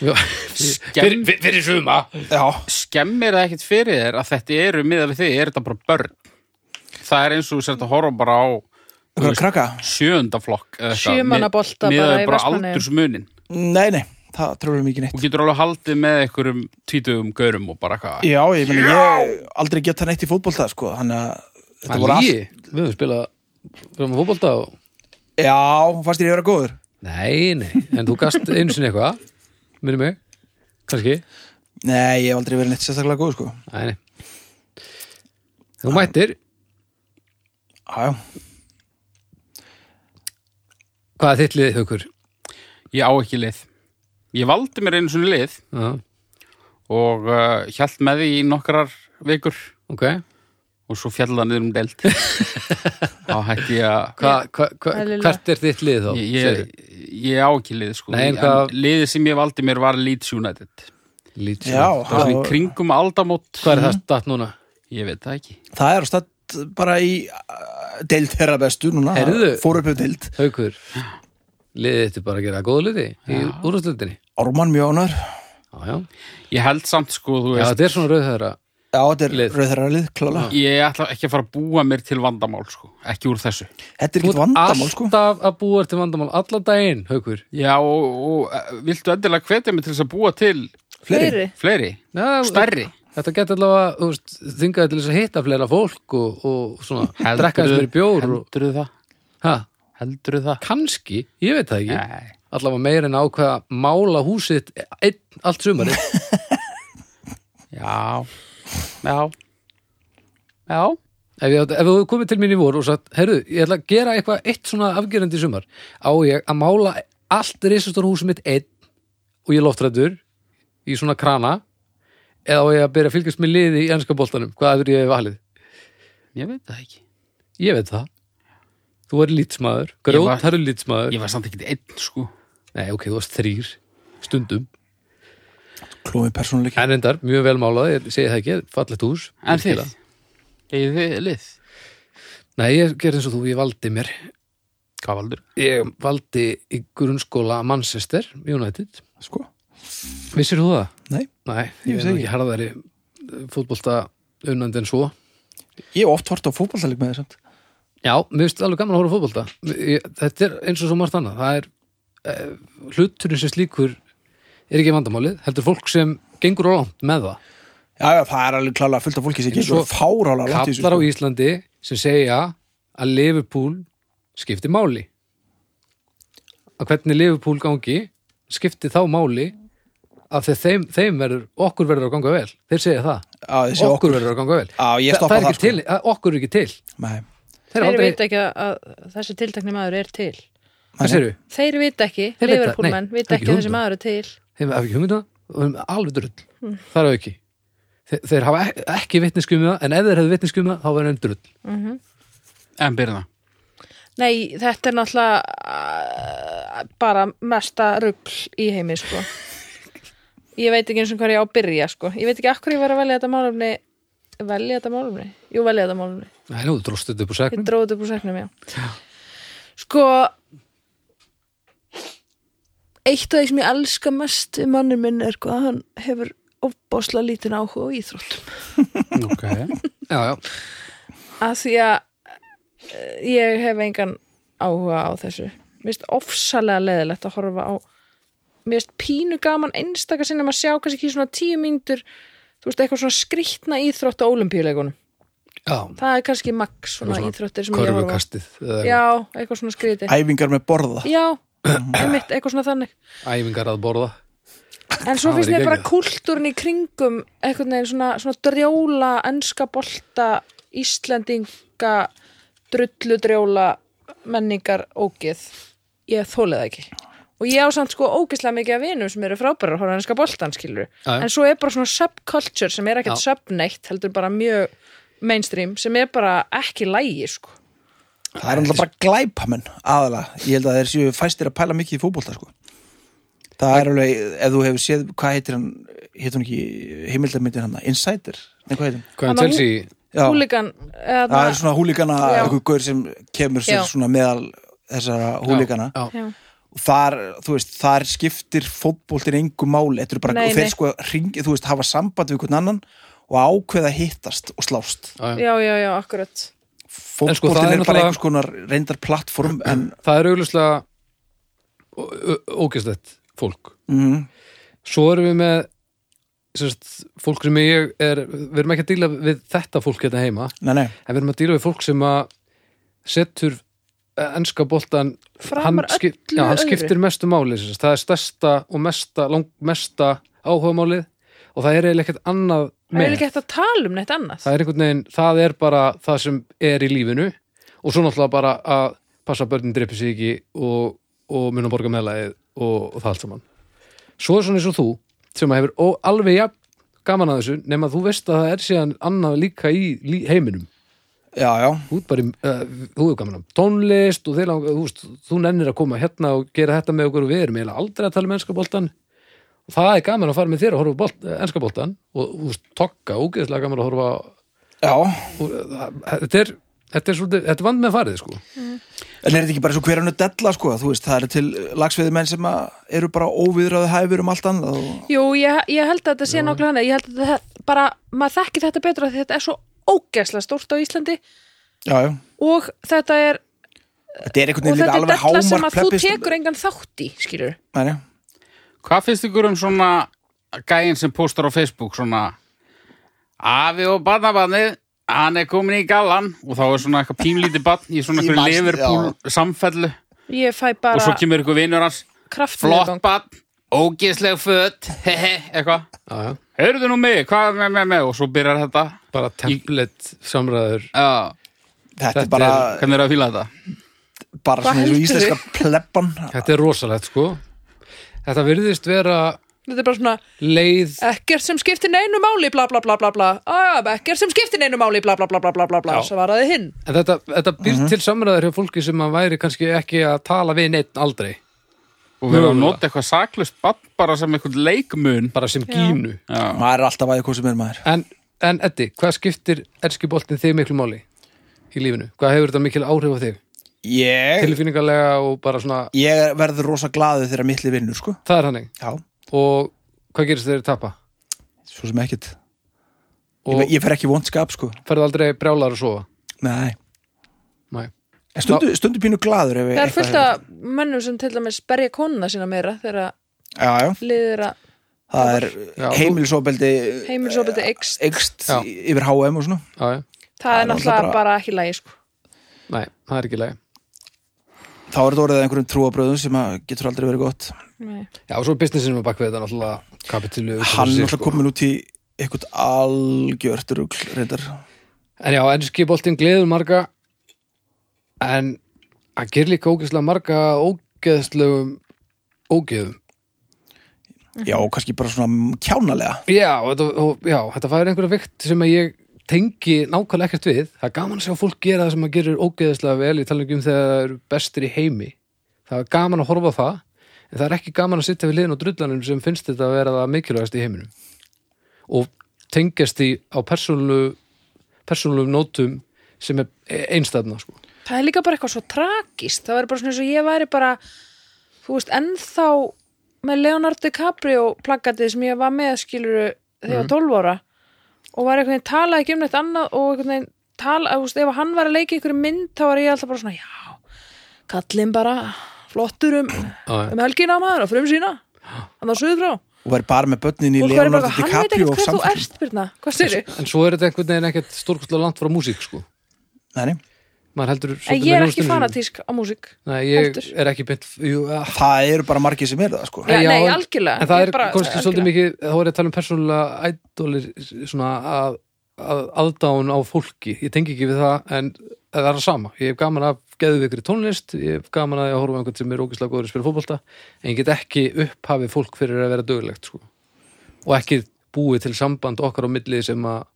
Já, fyrir, fyrir, fyrir suma
Já,
skemmir það ekkert fyrir þér að þetta eru miðað við þig, er þetta bara börn það er eins og þú sért að horfa bara á
okkur að krakka.
sjöundaflokk
Sjö manna bolta bara
miðað
í
við bara
Vestmannaeyjum.
aldursmunin
Nei, nei, það trúlega mikið neitt.
og getur alveg haldið með einhverjum títugum gaurum og bara hvað
Já, ég meni, ég aldrei geta neitt í fótbolta, sko, þannig að þetta
Það
voru
lígi,
allt.
við höfum spilað við höfum fótbolta og
Já, fannst þér ég að vera góður?
nei, nei, en þú gast einu sinni eitthvað minni mig, kannski
Nei, ég hef aldrei verið neitt sérstaklega góð, sko.
Nei, nei. Þú mættir,
Já, já.
hvað er þitt liðið haukur?
ég á ekki lið ég valdi mér einu svona lið
Já,
og uh, hjælt með því í nokkrar vikur
ok.
og svo fjallaði niður um
[LAUGHS]
deild þá hætti ég að
Hva, hva, hva,
Eðlilega.
hvert er þitt lið þá?
ég,
segirðu?
ég, ég á ekki lið sko.
Nei, en
En
hvað-
liðið sem ég valdi mér var Leeds United
Leeds.
Já, Mhm.
það var svona í
það-
kringum aldamót
Hvað er það statt núna?
ég veit það ekki
það er á stætt bara í uh, deild þeirra bestu núna.
Heyrðu.
Fór upp um deild.
Haukur, liðið þetta er bara að gera góð liði í úrústlundinni.
Ármann mjög ánur.
Já, já.
Ég held samt sko,
Já,
þú veist,
þetta er svona rauðhæðra.
Já, þetta er
Lið.
rauð þeirra lið, klála.
ég ætla ekki að fara að búa mér til vandamál sko, ekki úr þessu.
Þetta er ekkert vandamál, sko.
alltaf að búa þér til vandamál allan daginn, Haukur.
Já, og, og eh, viltu endilega hvetja mig til þess að búa til
Fleiri
fleiri,
Já,
stærri?
Þetta geti allavega, þú veist, þingaði til þess að hitta fleira fólk og, og svona, drekka þess mér bjór og,
Heldurðu það?
hæ,
Heldurðu það?
kannski, ég veit það ekki.
Nei,
allavega meira en ákveða mála húsið einn allt sumari
[LAUGHS] já, já, já,
Ef, ég, ef þú hefur komið til mín í vor og sagt, herru, ég ætla að gera eitthvað eitt svona afgerandi í sumar, á ég að mála allt risastór húsum mitt einn og ég er loftrættur í svona krana eða á ég að byrja að fylgjast með liði í ennska boltanum, hvað hefur ég valið?
Ég veit það ekki.
Ég veit það. Þú er lýtsmaður, grót
var-
eru lýtsmaður.
Ég var samt ekki einn, sko.
Nei, ok, þú varst þrýr, stundum.
klómi persónuleik
En reyndar, mjög vel málað, ég segi það ekki, fallegt hús.
En þið?
virkilega.
Eða þið lið?
Nei, ég gerði eins og þú, ég valdi mér.
Hvað valdur?
Ég valdi í grunnskóla Manchester United.
sko,
Vissir þú það?
nei
Nei,
Ég
ég
vissi
er nú
ekki.
ekki harðari eh, fótbolta unnandi en svo.
ég hef oft hort á fótballtalik með þessum
Já, mér finnst alveg gaman að horfa á fótbolta. Ég, þetta er eins og svo margt annað. Það er eh, hluturinn sem slíkur er ekki vandamálið, heldur fólk sem gengur á langt með það.
já, já, það er alveg klálega fullt af fólki sem
Eins
getur
og
fárála langt í þessu
Kallar á
sko.
Íslandi sem segja að Liverpool skipti máli. Að hvernig Liverpool gangi skipti þá máli að þegar þeim, þeim verður, okkur verður að ganga vel. Þeir segja það.
Já, sko. þessi
okkur,
okkur.
verður að ganga vel.
Já, ég
Þa-
stoppa
það er
þar,
ekki
sko.
til, að- okkur er ekki til
Nei.
þeir
Þeir
eru
vita
aldrei,
ekki að- að þessi tiltakni maður er til
hvað séru,
Þeir vita ekki,
Þeir vita-
Liverpool-menn
nei,
vita
ekki
ekki að þessi
hugmynd.
maður er til
þeim hafa ekki hugmynda og þeim er alveg drull,
Mm.
það er auki þeir, þeir hafa ek- ekki vitnisku um það en ef þeir hefðu vitnisku um það, þá verður þeim drull
En byrna.
Nei, þetta er náttúrulega uh, bara mesta rugl í
[LAUGHS]
heimi, sko. Ég veit ekki eins og hvað ég á að byrja, sko. Ég veit ekki akkur ég var að velja þetta málumni. Velja þetta málumni? Jú, velja þetta málumni.
Nei, nú, þú dróstu þetta upp úr
Ég
segnum
dróði þetta upp úr seknum, já. Sko, eitt af því sem ég elska mest við mannir minn er hvað hann hefur ofbásla lítinn áhuga á íþróttum.
Ok.
[LAUGHS]
já, já,
að því að eh, ég hef engan áhuga á þessu mér finnst ofsalega leðilegt að horfa á mér finnst pínu gaman einstaka sinni að sjá kannski ekki svona tíu mínútur þú veist eitthvað svona skrýtna íþrótt á olimpíuleikunum,
já
það er kannski max svona,
Eitthvað svona
íþróttir sem ég horfa á.
körfukastið, eða
já, eitthvað svona skrýti
æfingar með borða
já, einmitt, eitthvað svona þannig
æfingar að borða
en svo
Það
finnst
væri
mér bara
geggjað.
kúltúrin í kringum einhvern veginn svona, svona drjóla enska bolta íslendinga drulludrjóla menningar ógið ég þólið það ekki og ég á samt sko ógislega mikið af vinum sem eru frábærar að horfa á enska boltan skilur
Já, já.
en svo er bara svona subculture sem er ekkert
Já.
subneitt heldur bara mjög mainstream sem er bara ekki lægi sko
það er alltaf bara glæpamenn aðalega, ég held að þeir séu fæstir að pæla mikið í fótballta sko. það er alveg, ef þú hefur séð hvað heitir hann, heitir hann ekki heimildarmyndin hann, Insider Nei, hvað heitir hann?
hvað er
Þannig að
Chelsea,
Já.
húligan
það er svona húlíkana,
Já.
einhver gaur sem kemur sér
Já.
svona meðal þessara húlíkana
já,
já,
og þar, þú veist, þar skiptir fótboltin engu máli, þetta eru bara
Nei,
og þeir
nei.
sko ringi, þú veist, hafa samband við einhvern annan og ákveða að hittast og slást
já, já.
já, já, já, akkurat
fótboltin
sko, það er
er, bara
náttúrulega-
einhvers konar reyndar plattform en
það er augljóslega ó- ó- ógeðslegt fólk
mm,
svo erum við með sérst, fólk sem ég er við erum ekki að díla við þetta fólk hérna heima
nei, nei,
en við erum að díla við fólk sem að setur ennska boltan hann,
framar
skip,
öllu
já, hann
öðru.
skiptir mestu máli sérst. það er stærsta og mesta, lang, mesta áhugamálið og það er eiginlega ekkert annað
það er
með
ekki hægt að tala um neitt annað
það er einhvern veginn, það er bara það sem er í lífinu og svo náttúrulega bara að passa að börnin dreipi sig ekki og, og mun að borga meðlæðið og, og það allt saman svo er svona eins og þú sem að hefur ó, alveg jafn gaman að þessu nema þú veist að það er síðan annað líka í lí, heiminum
já, já
þú, er bara, í- eh, þú er gaman að tónlist og þeir, langa- þú, veist, þú nennir að koma hérna og gera þetta með okkur og við erum eiginlega aldrei að tala um ennska boltan og það er gaman að fara með þér að horfa á bolt, ennska boltan og þú veist, tokka, ógeðslega gaman að horfa á-
já,
og það- þetta er þetta er, svolítið, þetta er vand með farið sko
en er þetta ekki bara svo hverjanu della sko, þú veist, það eru til lagsveiði menn sem að eru bara óviðraðu hæfur um allt annað og
Jú, ég, ég held að þetta sé nákvæmlega hann ég held að þetta, bara, maður þekkir þetta betur af því þetta er svo ógeðslega stórt á Íslandi
já, já,
og þetta er,
þetta er einhvern
og
veginn
þetta
líka
er
alveg
della sem
hámark
að þú
plebbist-
tekur engan þátt í, skilur
Nei, nei.
Hvað finnst ykkur um svona gæin sem póstar á Facebook svona Afi og barnabarnið hann er komin í gallan og þá er svona eitthvað pínlítið barn í svona
Í
einhverju
mast,
Liverpool samfellu
Ég fæ
og svo
bara
kemur ykkur vinur hans
kraftniðurgang
flott barn, ógeðsleg föt [LAUGHS] hehe, eitthvað
já, já.
heyrðu nú mig, hvað með, með, með og svo byrjar þetta
bara template samræður
Já,
Þetta er
Þetta
bara,
hvernig er að fíla þetta?
bara
Hvað
svona eins og
heldurðu?
íslenska plebban
þetta er rosalegt sko þetta virðist vera
Þetta er bara svona,
leið
ekkert sem skiptir neinu máli, bla bla bla bla bla ah, Ekkert sem skiptir neinu máli, bla bla bla bla bla bla bla
Já.
Svaraði hinn
en þetta, þetta býr
Mhm.
til samræður hjá fólki sem að væri kannski ekki að tala við neitt aldrei
og við erum að
Mögulega.
nota eitthvað saklust bann bara sem eitthvað leikmun
bara sem gínu
Já,
Maður er alltaf að ég hvað sem er maður
en, en Eddi, hvað skiptir erskiboltin þig miklu máli í lífinu? Hvað hefur þetta mikil áhrif á þig?
Ég,
Tilfinningarlega og bara svona
ég verður rosa glaðið þegar mittli vinnur sko
það er hannig
Já,
og hvað gerist þegar þeir tapa?
svo sem ekkert
og
Ég, ég fer ekki í vont skap sko
ferðu aldrei brjálar að sofa?
Nei,
Nei.
En stundu, stundu pínu glaður ef
Það er
eitthvað
fullt
hefur-
af mönnum sem til dæmis berja konuna sína meira þegar
Já, já,
liðir að
það er
Já, þú-
heimilisofbeldi
heimilisofbeldi eykst.
Eikst
Já.
yfir HM og svona
Já, já.
það er náttúrulega
bara-
bara ekki lægi sko.
Nei, það er ekki leið
Þá er þetta orðið að einhverjum trúabröðum sem að getur aldrei verið gott
Já, og svo businessinum að bakvið þetta náttúrulega um kapitulu
Hann er
sko.
alltaf komin út í eitthvað algjört rugl reyndar
En já, ennski boltinn gleður marga en hann ger líka ógeðslega marga ógeðslegum ógeðum.
Mhm.
Já, og kannski bara svona kjánalega
Já, og þetta, og, já, þetta fær einhverja vikt sem að ég tengi nákvæmlega ekkert við. Það er gaman að sjá fólk gera það sem að gerir ógeðslega vel í talningum um þegar það eru bestir í heimi. Það er gaman að horfa á það en það er ekki gaman að sitja við liðin og drullanum sem finnst þetta að vera það mikilvægast í heiminum og tengjast því á persónlu persónlum nótum sem er einstæðna sko.
það er líka bara eitthvað svo tragist það væri bara svona eins og ég væri bara þú veist, ennþá með Leonardo DiCaprio plakatið sem ég var með skiluru þegar
Mhm.
ég var 12 ára og var einhvern veginn talaði ekki um neitt annað og einhvern veginn talaði, þú veist, ef hann var að leika í einhverju mynd þá var ég alltaf bara svona, já kallinn bara, flottur um
já.
um helgina maður og frum sína
[GASPS]
hann var suður frá
og væri bara með börnin í
og hvað er bara,
Leonardo
hann veit
DiCaprio
ekkert hvað
og
þú
samfélgum
ert, Birna, hvað styrir?
en svo er þetta einhvern veginn ekkert stórkostlega langt frá músík sko.
Nei, nei.
maður heldur
En
svolítið með
ég er ekki
hljómsveitinni sínum.
fanatísk á músík
Nei, ég
heldur.
er ekki beint jú, ah,
það eru bara margir sem er það sko
Já,
Já,
nei,
en-
algjörlega
en það
Ég
er
bara-
kannski
algjörlega.
svolítið mikið þá er ég að tala um persónulega ædólir svona að, að aðdáun á fólki ég tengi ekki við það en það er það sama, ég hef gaman af geðvikri tónlist, ég hef gaman að ég horfa á einhvern sem er ógislega góður að spila fótbolta en ég get ekki upphafið fólk fyrir að vera dögulegt sko. og ekki búið til samband okkar á milli sem að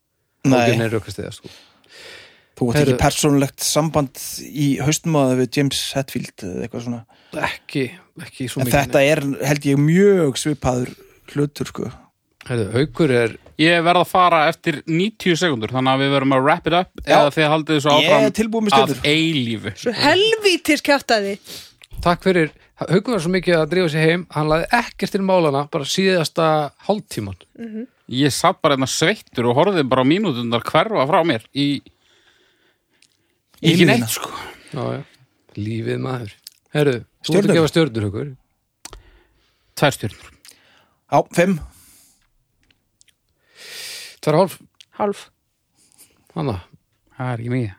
ágjörn
Nei,
er rökkast eða sko.
þú ert ekki
Heyrðu.
persónulegt samband í haustmáða við James Hetfield eða eitthvað svona
ekki, ekki svo
en
mikið
þetta er held ég mjög svipaður hlutur sko
Heyrðu, haukur er
ég verð að fara eftir 90 sekundur þannig að við verum að wrap it up eða þið haldið þessu
Ég er
áfram
tilbúið með stjórnur
að eilífu
Svo helvítis kjáttaði
Takk fyrir, Haukur var svo mikið að drífa sig heim hann laði ekkert til málana bara síðasta hálftíman
ég satt bara einna sveittur og horfið bara á mínútundar hverfa frá mér í, í
hlýðina.
neitt sko
já, já. Lífið maður Herru, þú ert
Stjörnur.
að gefa stjörnur Haukur
tvær stjörnur
Já, fimm,
Tvær og hálf,
Hálf
hana
það er ekki mikið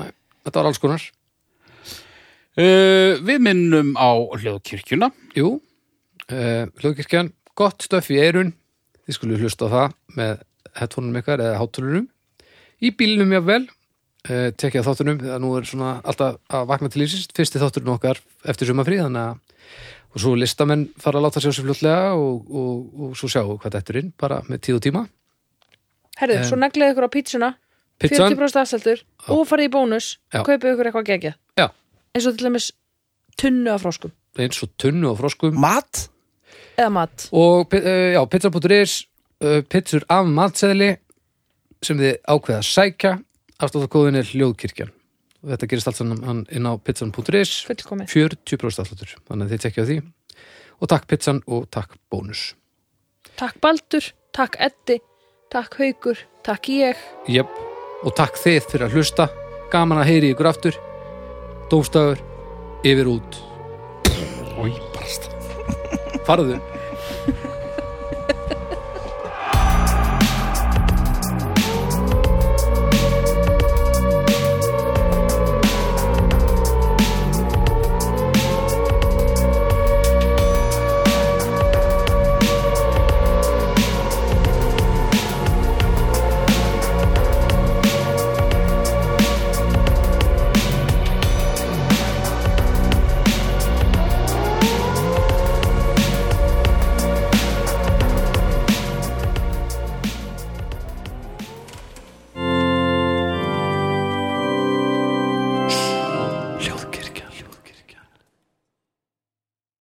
Nei, Þetta var alls konar
uh, við minnum á hljóðkirkjuna
Jú, uh, hljóðkirkjan gott stöf í eirun Þið skulle hlusta á það með hettónum ykkar eða hátulunum Í bílnum jafnvel uh, tekja þáttunum þegar nú er svona alltaf að vakna til lýsist fyrsti þátturinn okkar eftir sumafrí þannig að og svo listamenn fara að láta sjá sér fljótlega og, og, og svo sjáu hvað þetta er inn bara með tíð og tíma
Herðu, svo neglaði ykkur á pítsuna
Pizzan,
40% afsæltur og farið í bónus
Já.
kaupið ykkur eitthvað gegja
Já.
eins og til dæmis tunnu af froskum
eins og tunnu og froskum
mat
eða mat
og pi- eh, já, pizza.is eh, pizzur af matseðli sem þið ákveða að sækja afstáttakóðin er hljóðkirkjan og þetta gerist allt saman hann inn á pizzan.is
fullkomið
40% afsláttur, þannig að þið tekja á því og takk pizzan og takk bónus
Takk Baldur, takk Eddi, takk Haukur takk ég
Jöp, og takk þið fyrir að hlusta gaman að heyri ykkur aftur dómstafur, yfir út
og ég barst
farðu